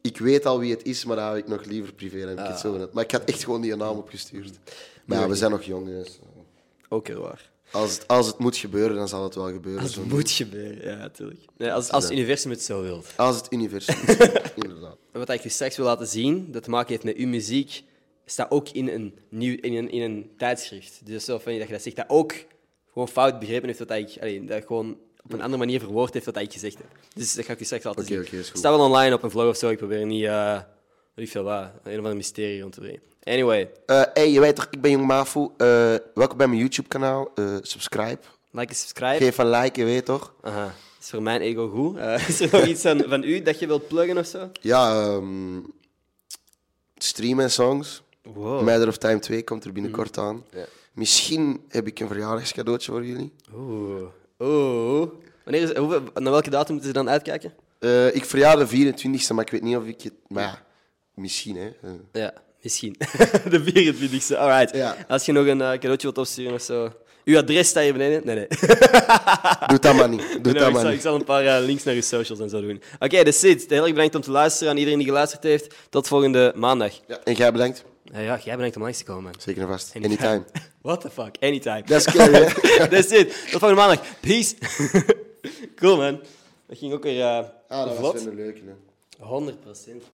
S1: ik weet al wie het is, maar dat hou ik nog liever privé. Dan heb ik het
S2: Ah.
S1: zo gedaan. Maar ik had echt gewoon die naam opgestuurd. Maar ja, we zijn nog jong. dus
S2: Ook heel waar.
S1: Als het, als het moet gebeuren, dan zal het wel gebeuren.
S2: Dat
S1: Zo-
S2: moet gebeuren, ja, natuurlijk. Nee, als, als het universum het zo wilt.
S1: Als het universum is. Inderdaad.
S2: En Wat ik je straks wil laten zien, dat te maken heeft met uw muziek, staat ook in een, nieuw, in een, in een tijdschrift. Dus zo van je dat je dat zegt, dat ook gewoon fout begrepen heeft wat ik... Allee, dat gewoon op een andere manier verwoord heeft wat ik gezegd heb. Dus dat ga ik je straks laten
S1: Oké,
S2: zien.
S1: oké, is goed.
S2: Het staat wel online op een vlog of zo. Ik probeer niet... eh weet ik veel wat. Een of ander mysterie rond te brengen. Anyway,
S1: Eh, hey, je weet toch, ik ben Jong Mafu. Eh, welkom bij mijn YouTube-kanaal. Eh, subscribe.
S2: like en subscribe.
S1: Geef een like, je weet toch?
S2: Aha. Is voor mijn ego goed? Eh, is er nog iets aan, van u dat je wilt pluggen of zo?
S1: Ja, ehm streamen en songs.
S2: Wow. Mhm.
S1: Matter of Time 2 komt er binnenkort aan. Misschien heb ik een verjaardagscadeautje voor jullie.
S2: Oeh. Oeh. Wanneer is, hoeveel, naar welke datum moeten ze dan uitkijken?
S1: Eh, ik verjaar de 24e, maar ik weet niet of ik het... Maar ja, misschien, hè. Eh,
S2: Ja, misschien. de 24e, alright.
S1: Ja.
S2: Als je nog een eh, cadeautje wilt opsturen of zo. Uw adres staat hier beneden. Nee, nee.
S1: doe dat maar niet. Doe
S2: Nee,
S1: dat
S2: ik, zal,
S1: maar
S2: ik
S1: niet.
S2: zal een paar eh, links naar uw socials en zo doen. Oké, dat is het. Heel erg bedankt om te luisteren aan iedereen die geluisterd heeft. Tot volgende maandag.
S1: Ja, En jij bedankt.
S2: Ja, ja jij bedankt om langs te komen, man.
S1: Zeker en vast. Anytime.
S2: What the fuck? Anytime.
S1: Dat is scary, hè? Ah,
S2: That's it. Tot volgende maandag. Peace. cool, man. Dat ging ook weer eh,
S1: Ah, dat was
S2: vlot.
S1: weer een leuke, hè.
S2: 100%.